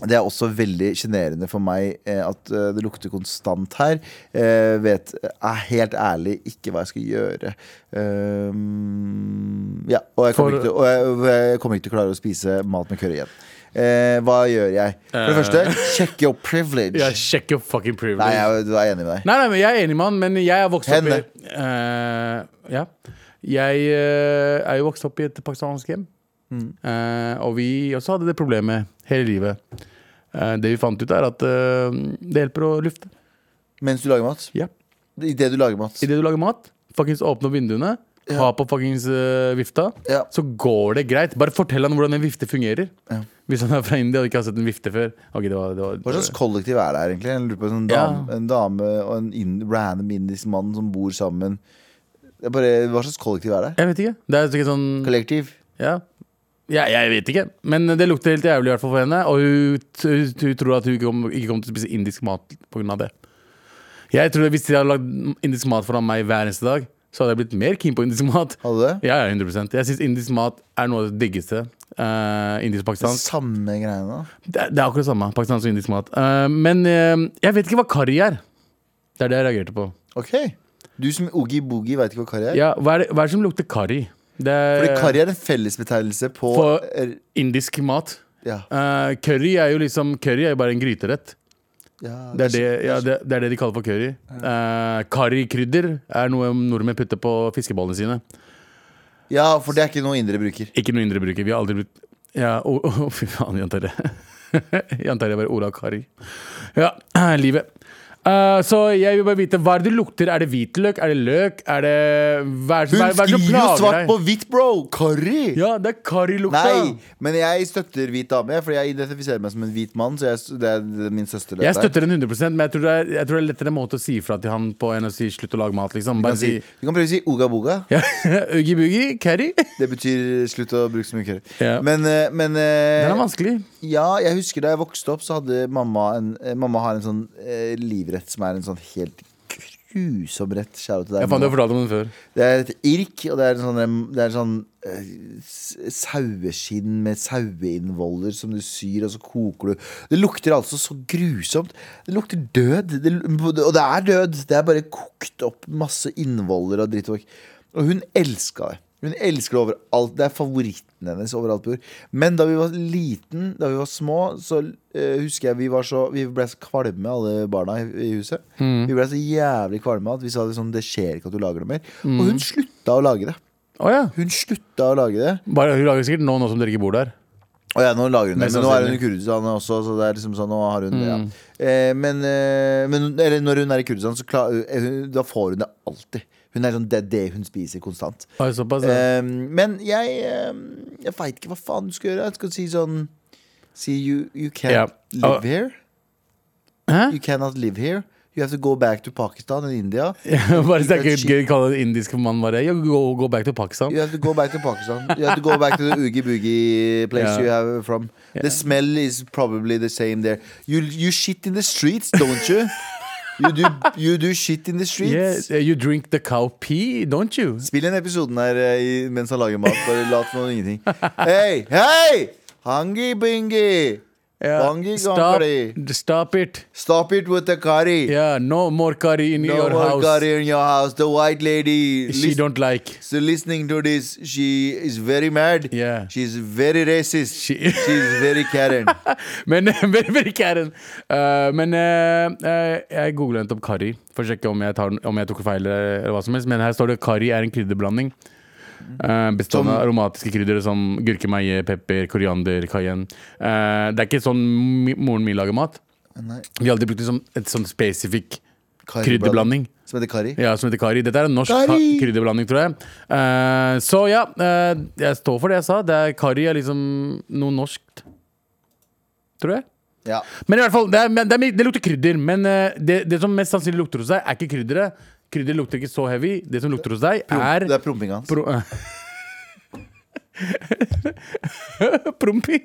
[SPEAKER 2] det er også veldig sjenerende for meg eh, at eh, det lukter konstant her. Eh, vet er helt ærlig ikke hva jeg skal gjøre. Ehm, ja, og jeg kommer,
[SPEAKER 3] For-
[SPEAKER 2] ikke til, og jeg, og jeg kommer ikke til å klare å spise mat med curry igjen. Eh, hva gjør jeg? For det første, check your privilege.
[SPEAKER 3] Eh. Ja, sjekk your fucking privilege.
[SPEAKER 2] Nei,
[SPEAKER 3] Nei,
[SPEAKER 2] jeg, du er enig med deg.
[SPEAKER 3] nei, men jeg er enig med han, men jeg er vokst opp
[SPEAKER 2] Henne.
[SPEAKER 3] i Eh, Ja. Jeg eh, er jo vokst opp i et pakistansk hjem.
[SPEAKER 2] Mm.
[SPEAKER 3] Eh, og vi også hadde det problemet hele livet. Eh, det vi fant ut, er at eh, det hjelper å lufte.
[SPEAKER 2] Mens du lager mat.
[SPEAKER 3] Ja.
[SPEAKER 2] Idet du lager mat.
[SPEAKER 3] Idet du lager mat, fuckings åpne opp vinduene, ha på fuckings eh, vifta,
[SPEAKER 2] Ja.
[SPEAKER 3] så går det greit. Bare fortell han hvordan en vifte fungerer.
[SPEAKER 2] Ja.
[SPEAKER 3] Hvis han er fra India og ikke har sett en vifte før. Ok, det var, det var,
[SPEAKER 2] Hva slags kollektiv er det her, egentlig? Jeg lurer på En
[SPEAKER 3] Ja.
[SPEAKER 2] dame, en dame og en ind random indisk mann som bor sammen. Det er bare, hva slags kollektiv er det?
[SPEAKER 3] Jeg vet ikke. Det er sikkert sånn
[SPEAKER 2] Kollektiv?
[SPEAKER 3] Ja. ja, jeg vet ikke. Men det lukter helt jævlig i hvert fall for henne. Og hun, hun, hun tror at hun ikke kommer, ikke kommer til å spise indisk mat pga. det. Jeg tror at Hvis de hadde lagd indisk mat foran meg hver eneste dag, så hadde jeg blitt mer keen på indisk mat.
[SPEAKER 2] Hadde du det?
[SPEAKER 3] Ja, ja, 100% Jeg syns indisk mat er noe av det diggeste. Eh, Indisk-pakistansk.
[SPEAKER 2] Samme greiene.
[SPEAKER 3] Det, er- det er akkurat det samme. Pakistansk og indisk mat. Eh, men eh, jeg vet ikke hva karri er. Det er det jeg reagerte på.
[SPEAKER 2] Ok. Du som oogie-boogie veit ikke hva karri er?
[SPEAKER 3] Ja, hva, er det, hva er det som lukter karri? Det er
[SPEAKER 2] Fordi karri er en fellesbetegnelse på
[SPEAKER 3] For-
[SPEAKER 2] er-
[SPEAKER 3] indisk mat.
[SPEAKER 2] Ja.
[SPEAKER 3] Eh, curry er jo liksom Curry er jo bare en gryterett.
[SPEAKER 2] Ja,
[SPEAKER 3] Det er det, ja, det, det, er det de kaller for curry. Uh, Karrikrydder er noe nordmenn putter på fiskebollene sine.
[SPEAKER 2] ja, for det er ikke noe indre bruker.
[SPEAKER 3] Ikke noe indre bruker. Vi har aldri blitt ja, å, å, Fy faen, Jan Terje. Jan Terje bare Ola Kari. Ja, livet. Eh, så jeg vil bare vite, hva er det det lukter? Er det hvitløk? Er det løk? Er det Hva er
[SPEAKER 2] Hun
[SPEAKER 3] hva er- hva er det som
[SPEAKER 2] skriver jo
[SPEAKER 3] plager
[SPEAKER 2] svart
[SPEAKER 3] deg?
[SPEAKER 2] på hvitt, bro! Curry!
[SPEAKER 3] Ja, det er karrilukta.
[SPEAKER 2] Nei, men jeg støtter hvit dame, jeg, fordi jeg identifiserer meg som en hvit mann. Så jeg, det er det er min søster. det
[SPEAKER 3] Jeg
[SPEAKER 2] der.
[SPEAKER 3] støtter den 100 men jeg tror, det er, jeg tror det er lettere måte å si ifra til han på enn å si 'slutt å lage mat'. liksom
[SPEAKER 2] Du
[SPEAKER 3] Bare
[SPEAKER 2] kan, si,
[SPEAKER 3] si
[SPEAKER 2] du kan prøve å si uga boga.
[SPEAKER 3] ja, Oogie boogie, curry.
[SPEAKER 2] Det betyr slutt å bruke så mye curry.
[SPEAKER 3] Ja.
[SPEAKER 2] Men, eh, men eh,
[SPEAKER 3] Den er vanskelig.
[SPEAKER 2] ja, jeg husker da jeg vokste opp, så hadde mamma en, eh, mamma har en sånn eh, livrett som er en sånn helt grusom rett. Kjære til deg.
[SPEAKER 3] Jeg fant du
[SPEAKER 2] mamma.
[SPEAKER 3] har fortalt om den før.
[SPEAKER 2] Det er et irk, og det er en sånn, em, det er en sånn eh, s- saueskinn med saueinnvoller som du syr, og så koker du. Det lukter altså så grusomt. Det lukter død. Det, l- og det er død. Det er bare kokt opp masse innvoller og drittåk. Og hun elska det. Hun elsker det overalt. Det er favoritten hennes overalt på jord. Men da vi var liten, da vi var små, så eh, husker jeg vi var så Vi ble så kvalme, alle barna i, i huset. Vi ble så jævlig kvalme at vi sa liksom, det skjer ikke at du lager det mer. Og hun slutta å lage det.
[SPEAKER 3] Å ja.
[SPEAKER 2] Hun slutta å lage det.
[SPEAKER 3] Bare, hun lager sikkert nå, nå som dere ikke bor der.
[SPEAKER 2] Og ja, nå lager hun det,
[SPEAKER 3] Mest
[SPEAKER 2] men nå er hun i
[SPEAKER 3] sannsynlig. Mm.
[SPEAKER 2] Kurdistan også, så det er liksom sånn, nå har hun det, ja. Eh, men, eh, men eller, når hun er i Kurdistan, så klar, eh, hun, da får hun det alltid. Hun er sånn, det er det hun spiser konstant.
[SPEAKER 3] Bare såpass, ja.
[SPEAKER 2] Ehm, men jeg, um, jeg veit ikke hva faen du skal gjøre. Jeg skal si sånn Si you, you can't
[SPEAKER 3] Ja.
[SPEAKER 2] live
[SPEAKER 3] Ah.
[SPEAKER 2] here.
[SPEAKER 3] Hæ?
[SPEAKER 2] You cannot live here. You have to go back to Pakistan and India.
[SPEAKER 3] Bare så det er ikke gøy å kalle en indisk mann bare «Yeah, go, go back to Pakistan.
[SPEAKER 2] You have to go back to Pakistan. You have to go back to the oogie boogie place
[SPEAKER 3] Ja.
[SPEAKER 2] you have from. The smell is probably the same there. You, you shit in the streets, don't you? You do, you do shit in the streets.
[SPEAKER 3] Yeah, you drink the cow pee, don't you?
[SPEAKER 2] Spill inn episoden her eh, i- mens han lager mat. Bare lat som om ingenting. Hei, hei! Hangi bingi!
[SPEAKER 3] Ja.
[SPEAKER 2] Bangi
[SPEAKER 3] Stop,
[SPEAKER 2] gangari.
[SPEAKER 3] stop it.
[SPEAKER 2] Stop it with the curry.
[SPEAKER 3] Yeah, no more curry in
[SPEAKER 2] no
[SPEAKER 3] your
[SPEAKER 2] more
[SPEAKER 3] house.
[SPEAKER 2] curry in your house. The white lady.
[SPEAKER 3] She
[SPEAKER 2] lis-
[SPEAKER 3] don't like.
[SPEAKER 2] so listening to this, she is very mad.
[SPEAKER 3] Yeah.
[SPEAKER 2] She's very racist.
[SPEAKER 3] She-
[SPEAKER 2] She's very Karen.
[SPEAKER 3] Men men- men ikke er den. Eh, men eh, eh, jeg googla nettopp karri for å sjekke om jeg, tar, den- om jeg tok feil. eh, Eller hva som helst Men her står det karri er en krydderblanding. eh, bestående av aromatiske krydder som gurkemeie, pepper, koriander, cayenne. Eh, det er ikke sånn mi, moren min lager mat.
[SPEAKER 2] Nei,
[SPEAKER 3] Vi har alltid brukt det som et sånn spesifikk
[SPEAKER 2] curryblanding.
[SPEAKER 3] krydderblanding.
[SPEAKER 2] Som heter curry.
[SPEAKER 3] Ja, som heter Kari. Dette er en norsk
[SPEAKER 2] Kari!
[SPEAKER 3] ka- krydderblanding, tror jeg. Eh, så ja, eh, jeg står for det jeg sa. Det er, Kari er liksom noe norskt. Tror jeg.
[SPEAKER 2] Ja.
[SPEAKER 3] Men i hvert fall, det, er, men det, er, mye- det lukter krydder, men eh, det, det som mest sannsynlig lukter hos deg, er ikke krydderet. Krydder lukter ikke så heavy. Det som lukter hos deg, er
[SPEAKER 2] Det er prompinga hans.
[SPEAKER 3] pro Prompi.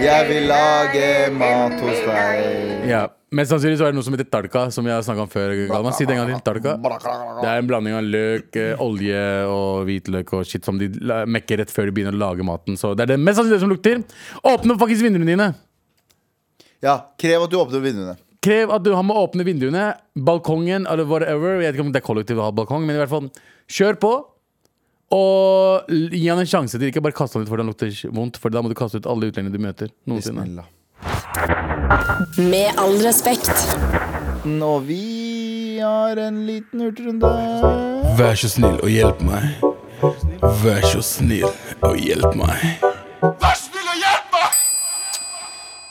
[SPEAKER 2] Jeg vil lage mat hos deg.
[SPEAKER 3] Ja. Mest sannsynlig så er det noe som heter talka, som jeg har snakka om før. Galvan, si det en gang til. Talka. Det er en blanding av løk, eh, olje og hvitløk og shit som de la- mekker rett før de begynner å lage maten. Så det er det mest sannsynlig det som lukter. Åpne opp faktisk vinduene dine.
[SPEAKER 2] Ja, krev at du åpner vinduene.
[SPEAKER 3] Krev at du har med å åpne vinduene, balkongen eller whatever. Jeg vet ikke om det er kollektivt å ha balkong, men i hvert fall, kjør på. Og l- gi han en sjanse til ikke bare kaste han ut fordi han lukter vondt, for da må du kaste ut alle utlendingene du møter. noensinne.
[SPEAKER 2] Bismillah.
[SPEAKER 8] Med all respekt.
[SPEAKER 2] Og vi har en liten hurtigrunde.
[SPEAKER 3] Vær så snill og hjelp meg. Vær så snill og hjelp meg.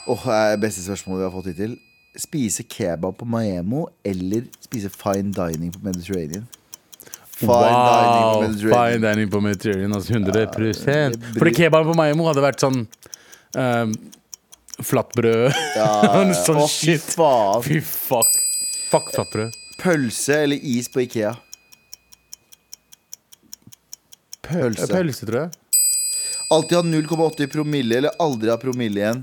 [SPEAKER 2] Åh, det er beste spørsmålet vi har fått hittil. Spise kebab på Maemo eller spise fine dining på Mediterranean? Fine
[SPEAKER 3] Wow! Fine
[SPEAKER 2] Mediterranean.
[SPEAKER 3] dining på Mediterranean. Altså 100 Fordi kebaben på Maimo hadde vært sånn um, Flatbrød.
[SPEAKER 2] Ja,
[SPEAKER 3] sånn
[SPEAKER 2] å, fy
[SPEAKER 3] shit.
[SPEAKER 2] faen.
[SPEAKER 3] Fy fuck. Fuck flatbrød.
[SPEAKER 2] Pølse eller is på Ikea? Pølse.
[SPEAKER 3] Pølse, tror jeg.
[SPEAKER 2] Alltid ha 0,8 i promille eller aldri ha promille igjen?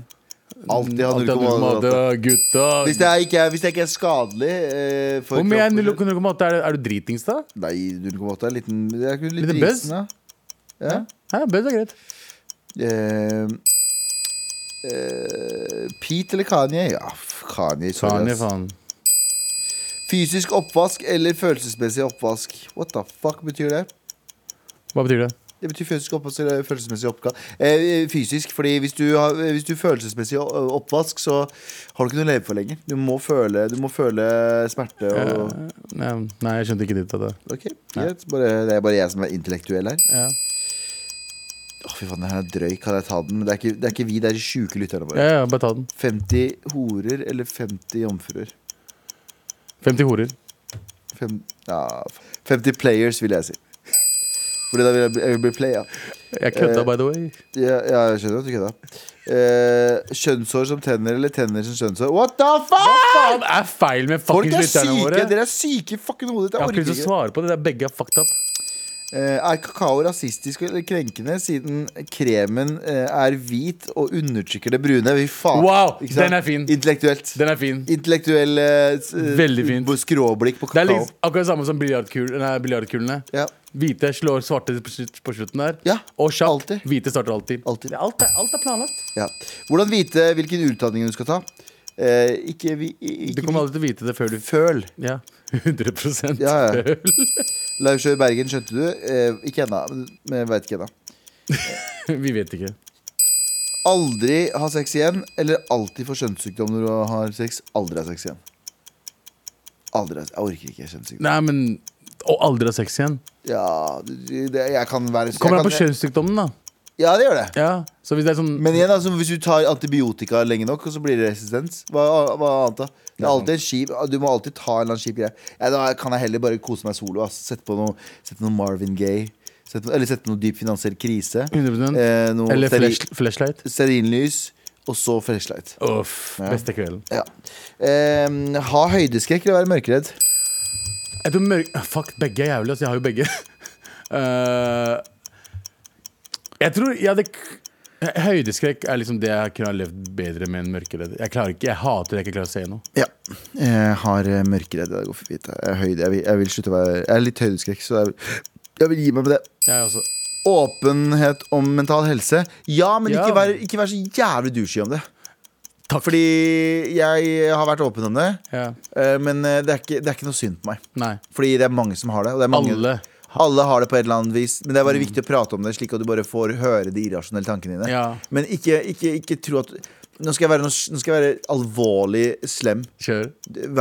[SPEAKER 2] Alltid ha
[SPEAKER 3] Alltid at du må ha
[SPEAKER 2] 0,8.
[SPEAKER 3] det, gutta.
[SPEAKER 2] Hvis det er ikke er, hvis det ikke er skadelig eh, for
[SPEAKER 3] Hvor mye er
[SPEAKER 2] kroppen-
[SPEAKER 3] 0,8? Er, er du dritings, da?
[SPEAKER 2] Nei, 0,8 er en liten Det er ikke litt
[SPEAKER 3] Liten buzz?
[SPEAKER 2] risen, da. Ja.
[SPEAKER 3] Hæ, bøs er greit.
[SPEAKER 2] Eh, eh, Pete eller Kanye? Ja, f- Kanye. sorry,
[SPEAKER 3] Faen i
[SPEAKER 2] ass.
[SPEAKER 3] faen.
[SPEAKER 2] Fysisk oppvask eller følelsesmessig oppvask. What the fuck betyr det?
[SPEAKER 3] Hva betyr det?
[SPEAKER 2] Det betyr fysisk oppvask eller følelsesmessig oppga- Eh, fysisk, fordi hvis du har eh, hvis du følelsesmessig o- eh, oppvask, så har du ikke noe å leve for lenger. Du må føle, du må føle smerte og
[SPEAKER 3] Nei, nei, jeg skjønte ikke ditt av det.
[SPEAKER 2] Ok, greit. Bare, det er bare jeg som er intellektuell her.
[SPEAKER 3] Ja.
[SPEAKER 2] Å, fy faen, den her er drøy. Kan jeg ta den? Men det er ikke, det er ikke vi, det er de sjuke lytterne
[SPEAKER 3] Ja,
[SPEAKER 2] våre.
[SPEAKER 3] ja, bare ta den.
[SPEAKER 2] 50 horer eller 50 jomfruer?
[SPEAKER 3] 50 horer.
[SPEAKER 2] Fem, ja, 50 players, vil jeg si. Fordi da vil jeg bli, jeg vil bli playa.
[SPEAKER 3] Jeg kødda,
[SPEAKER 2] Eh,
[SPEAKER 3] by the way.
[SPEAKER 2] Ja, ja, jeg skjønner at du kødda. Eh, kjønnshår som tenner eller tenner som kjønnshår? What the fuck?!
[SPEAKER 3] Faen, det er feil med
[SPEAKER 2] Folk
[SPEAKER 3] fuckings
[SPEAKER 2] er
[SPEAKER 3] lytterne
[SPEAKER 2] syke!
[SPEAKER 3] våre.
[SPEAKER 2] Dere er syke i fucking hodet ditt.
[SPEAKER 3] Jeg
[SPEAKER 2] Jeg
[SPEAKER 3] har ikke
[SPEAKER 2] orker
[SPEAKER 3] lyst til å
[SPEAKER 2] ikke.
[SPEAKER 3] svare på det. det er begge er fucked up.
[SPEAKER 2] Eh, er kakao rasistisk eller krenkende siden kremen eh, er hvit og undertrykker det brune? Fy faen.
[SPEAKER 3] Wow,
[SPEAKER 2] Ikke sant?
[SPEAKER 3] den er fin.
[SPEAKER 2] Intellektuelt.
[SPEAKER 3] Den er fin.
[SPEAKER 2] Intellektuell eh, s-
[SPEAKER 3] Veldig fin.
[SPEAKER 2] bo- skråblikk på
[SPEAKER 3] Det er
[SPEAKER 2] kakao.
[SPEAKER 3] litt, akkurat det samme som biljardkul- nei, biljardkulene.
[SPEAKER 2] Ja.
[SPEAKER 3] Hvite slår svarte på slutt- på slutten der.
[SPEAKER 2] Ja,
[SPEAKER 3] og sjakk.
[SPEAKER 2] alltid.
[SPEAKER 3] Hvite starter alltid.
[SPEAKER 2] Alltid.
[SPEAKER 3] Det er Alt, er, alt er planlagt.
[SPEAKER 2] Ja. Hvordan vite hvilken utdanning du skal ta? Eh, ikke vi, i-
[SPEAKER 3] Du
[SPEAKER 2] ikke
[SPEAKER 3] kommer aldri til å vite det før du
[SPEAKER 2] vi- Føl.
[SPEAKER 3] Ja. 100
[SPEAKER 2] Ja, ja. Laursjø i Bergen, skjønte du? Eh, ikke ennå, men jeg veit ikke ennå.
[SPEAKER 3] Vi vet ikke.
[SPEAKER 2] Aldri ha sex igjen, eller alltid få kjønnssykdom når du har sex. Aldri ha sex igjen. Aldri ha Jeg orker ikke kjønnssykdom.
[SPEAKER 3] Nei, men Og aldri ha sex igjen.
[SPEAKER 2] Ja, det, det- jeg kan være
[SPEAKER 3] Kommer
[SPEAKER 2] jeg
[SPEAKER 3] an på
[SPEAKER 2] kan-
[SPEAKER 3] kjønnssykdommen, da.
[SPEAKER 2] Ja, det gjør det.
[SPEAKER 3] Ja, så hvis det er sånn
[SPEAKER 2] Men igjen, altså, hvis du tar antibiotika lenge nok, og så blir det resistens, hva, hva annet da? Det er alltid en skip, du må alltid ta en eller annen kjip greie. Ja, da kan jeg heller bare kose meg solo. ass. Sette på noe, sette noe Marvin Gaye. Sette, noe- eller sette noe dyp finansiell krise.
[SPEAKER 3] 100
[SPEAKER 2] Eh, noe
[SPEAKER 3] Eller
[SPEAKER 2] steri-
[SPEAKER 3] flash, flashlight.
[SPEAKER 2] stearinlys, og så flashlight.
[SPEAKER 3] Uff, beste kvelden.
[SPEAKER 2] Ja. Em, ha høydeskrekk eller være mørkeredd?
[SPEAKER 3] Jeg tror mørk... Ah, Fuck, begge er jævlig, altså. Jeg har jo begge. Eh, jeg tror jeg hadde k- Høydeskrekk er liksom det jeg kunne ha levd bedre med enn mørkeredd. Jeg klarer ikke, jeg hater det jeg ikke klarer å se noe.
[SPEAKER 2] Ja. Jeg har eh, mørkeredd. Det går for vidt. Jeg, er høyde, jeg, vil, jeg vil slutte å være Jeg er litt høydeskrekk, så jeg vil, jeg vil gi meg med det.
[SPEAKER 3] Jeg også.
[SPEAKER 2] Åpenhet om mental helse. Ja, men
[SPEAKER 3] Ja.
[SPEAKER 2] ikke vær, ikke vær så jævlig douchey om det.
[SPEAKER 3] Takk.
[SPEAKER 2] Fordi jeg har vært åpen om det,
[SPEAKER 3] Ja.
[SPEAKER 2] eh, men eh, det er, ikke, det er ikke noe synd på meg.
[SPEAKER 3] Nei.
[SPEAKER 2] Fordi det er mange som har det. Og det er mange,
[SPEAKER 3] Alle.
[SPEAKER 2] alle har det på et eller annet vis, men det er bare viktig å prate om det, slik at du bare får høre de irrasjonelle tankene dine.
[SPEAKER 3] Ja.
[SPEAKER 2] Men ikke, ikke, ikke tro at nå skal, jeg være, nå skal jeg være alvorlig slem.
[SPEAKER 3] Kjør.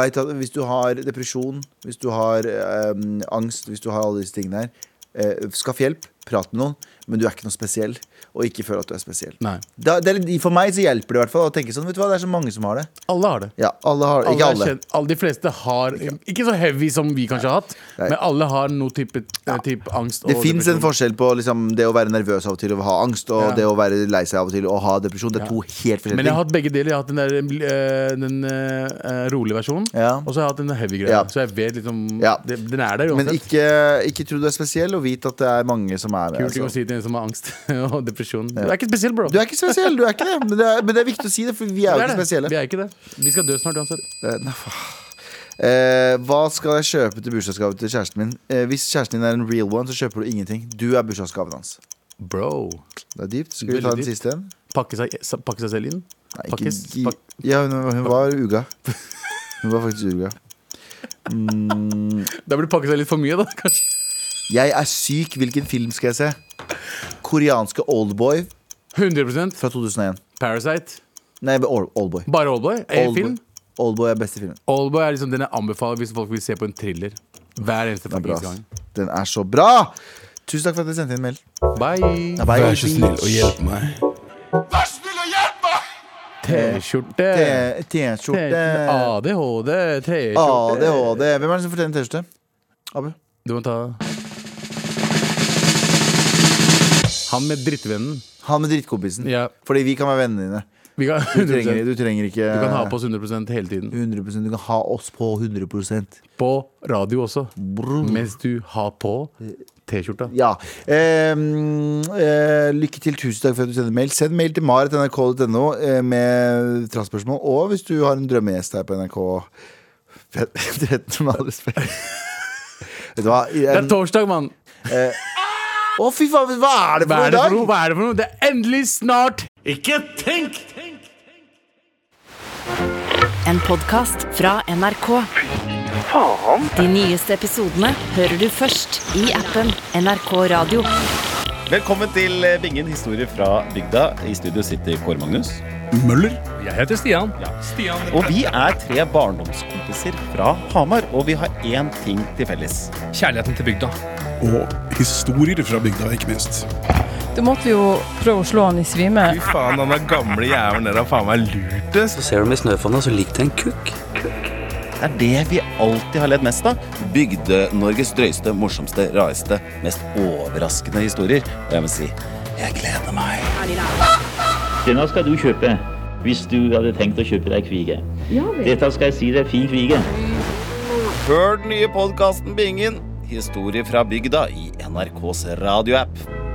[SPEAKER 2] Vet at hvis du har depresjon, hvis du har ehm, angst, hvis du har alle disse tingene her, eh, skaff hjelp, prat med noen, men du er ikke noe spesiell. Og ikke føl at du er spesiell.
[SPEAKER 3] Nei.
[SPEAKER 2] Da, det er, litt- for meg så hjelper det i hvert fall å tenke sånn. Vet du hva, det er så mange som har det.
[SPEAKER 3] Alle har det.
[SPEAKER 2] Ja, alle har det. Ikke
[SPEAKER 3] er
[SPEAKER 2] alle.
[SPEAKER 3] kjent- alle de fleste har Ikke så heavy som vi kanskje har hatt,
[SPEAKER 2] Nei.
[SPEAKER 3] men alle har noe type, eh, type angst.
[SPEAKER 2] Det
[SPEAKER 3] og
[SPEAKER 2] fins en
[SPEAKER 3] depresjon.
[SPEAKER 2] forskjell på liksom, det å være nervøs av og til og ha angst, og
[SPEAKER 3] Ja.
[SPEAKER 2] det å være lei seg av og til og ha depresjon. Det er
[SPEAKER 3] Ja.
[SPEAKER 2] to helt forskjellige
[SPEAKER 3] Men jeg har hatt begge deler. Jeg har hatt den, der, eh, den eh, rolige versjonen,
[SPEAKER 2] Ja.
[SPEAKER 3] og så har jeg hatt den heavy greia.
[SPEAKER 2] Ja.
[SPEAKER 3] Så jeg vet liksom
[SPEAKER 2] Ja.
[SPEAKER 3] det, Den er der
[SPEAKER 2] Men
[SPEAKER 3] uansett.
[SPEAKER 2] ikke, ikke tro du er spesiell, og vit at det er mange som er med.
[SPEAKER 3] Kult ting å
[SPEAKER 2] Altså.
[SPEAKER 3] si til en som har angst og depresjon. Du er ikke spesiell, bro.
[SPEAKER 2] Du er ikke spesiell, du er ikke det. Men det er, men det er viktig å si det, for vi er jo
[SPEAKER 3] Vi er
[SPEAKER 2] ikke
[SPEAKER 3] det.
[SPEAKER 2] spesielle.
[SPEAKER 3] Vi er ikke det. Vi skal dø snart uansett.
[SPEAKER 2] Eh, nei, fa- Eh, hva skal jeg kjøpe til bursdagsgave til kjæresten min? Eh, hvis kjæresten din er en real one, så kjøper du ingenting. Du er bursdagsgaven hans.
[SPEAKER 3] Bro.
[SPEAKER 2] Det er dypt. Skal vi
[SPEAKER 3] Veldig
[SPEAKER 2] ta den
[SPEAKER 3] dypt.
[SPEAKER 2] siste en?
[SPEAKER 3] Pakke seg, pakke seg selv inn.
[SPEAKER 2] Nei, ikke
[SPEAKER 3] Pakkes.
[SPEAKER 2] gi-
[SPEAKER 3] Pak
[SPEAKER 2] Ja, hun, hun var uga. Hun var faktisk uga.
[SPEAKER 3] da blir det pakket seg litt for mye, da, kanskje.
[SPEAKER 2] Jeg er syk. Hvilken film skal jeg se? Koreanske Oldboy
[SPEAKER 3] 100
[SPEAKER 2] fra 2001.
[SPEAKER 3] Parasite.
[SPEAKER 2] Nei, Old- Oldboy.
[SPEAKER 3] Bare Oldboy. En
[SPEAKER 2] Oldboy.
[SPEAKER 3] film.
[SPEAKER 2] Oldboy er beste filmen.
[SPEAKER 3] Oldboy er liksom den jeg anbefaler hvis folk vil se på en thriller. Hver eneste
[SPEAKER 2] Den er, bra.
[SPEAKER 3] fuckings gang.
[SPEAKER 2] ass. den er så bra! Tusen takk for at dere sendte inn mail.
[SPEAKER 3] Bye.
[SPEAKER 2] Vær så snill
[SPEAKER 6] Og hjelp meg.
[SPEAKER 3] T-skjorte.
[SPEAKER 2] T-skjorte.
[SPEAKER 3] ADHD. T-skjorte.
[SPEAKER 2] ADHD. Hvem er det som fortjener T-skjorte? Abu?
[SPEAKER 3] Du må ta Han med drittvennen.
[SPEAKER 2] Han med drittkompisen.
[SPEAKER 3] Ja.
[SPEAKER 2] Fordi vi kan være vennene dine.
[SPEAKER 3] Vi kan,
[SPEAKER 2] Du trenger,
[SPEAKER 3] 100%.
[SPEAKER 2] du trenger ikke
[SPEAKER 3] Du kan ha på oss 100 hele tiden.
[SPEAKER 2] 100 Du kan ha oss på 100
[SPEAKER 3] På radio også. Mens du har på T-skjorta.
[SPEAKER 2] Ja. Ehm, eh, lykke til. Tusen takk for at du sender mail. Send mail til marit.nrk.no eh, med transpørsmål. Og hvis du har en drømmegjest her på NRK 13, med all respekt. Vet du hva? I
[SPEAKER 3] Det er
[SPEAKER 2] en-
[SPEAKER 3] torsdag, mann!
[SPEAKER 2] Å, fy faen! Hva er det
[SPEAKER 3] Hva
[SPEAKER 2] for noe i
[SPEAKER 3] er det for
[SPEAKER 2] dag?
[SPEAKER 3] noe? Hva er det for noe? Det er endelig snart!
[SPEAKER 1] En podkast fra NRK. De nyeste episodene hører du først i appen NRK Radio.
[SPEAKER 5] Velkommen til eh, Bingen historie fra bygda. I studio sitter Kåre Magnus.
[SPEAKER 6] Jeg heter Stian.
[SPEAKER 5] Og vi er tre barndomskompiser fra Hamar, og vi har én ting til felles.
[SPEAKER 6] Kjærligheten til bygda.
[SPEAKER 7] Og historier fra bygda, ikke minst.
[SPEAKER 9] Du måtte jo prøve å slå han i svime.
[SPEAKER 10] Faen, han er gamle jævlen der har faen meg lurt det.
[SPEAKER 11] Så ser du med snøfonna, så ligger det en kukk.
[SPEAKER 5] Det er det vi alltid har ledd mest av. Bygde-Norges drøyeste, morsomste, rareste, mest overraskende historier. Og jeg må si jeg gleder meg.
[SPEAKER 11] Denne skal du kjøpe hvis du hadde tenkt å kjøpe deg kvige. Dette skal jeg si deg fin kvige.
[SPEAKER 5] Hør den nye podkasten Bingen. Historie fra bygda i NRKs radioapp.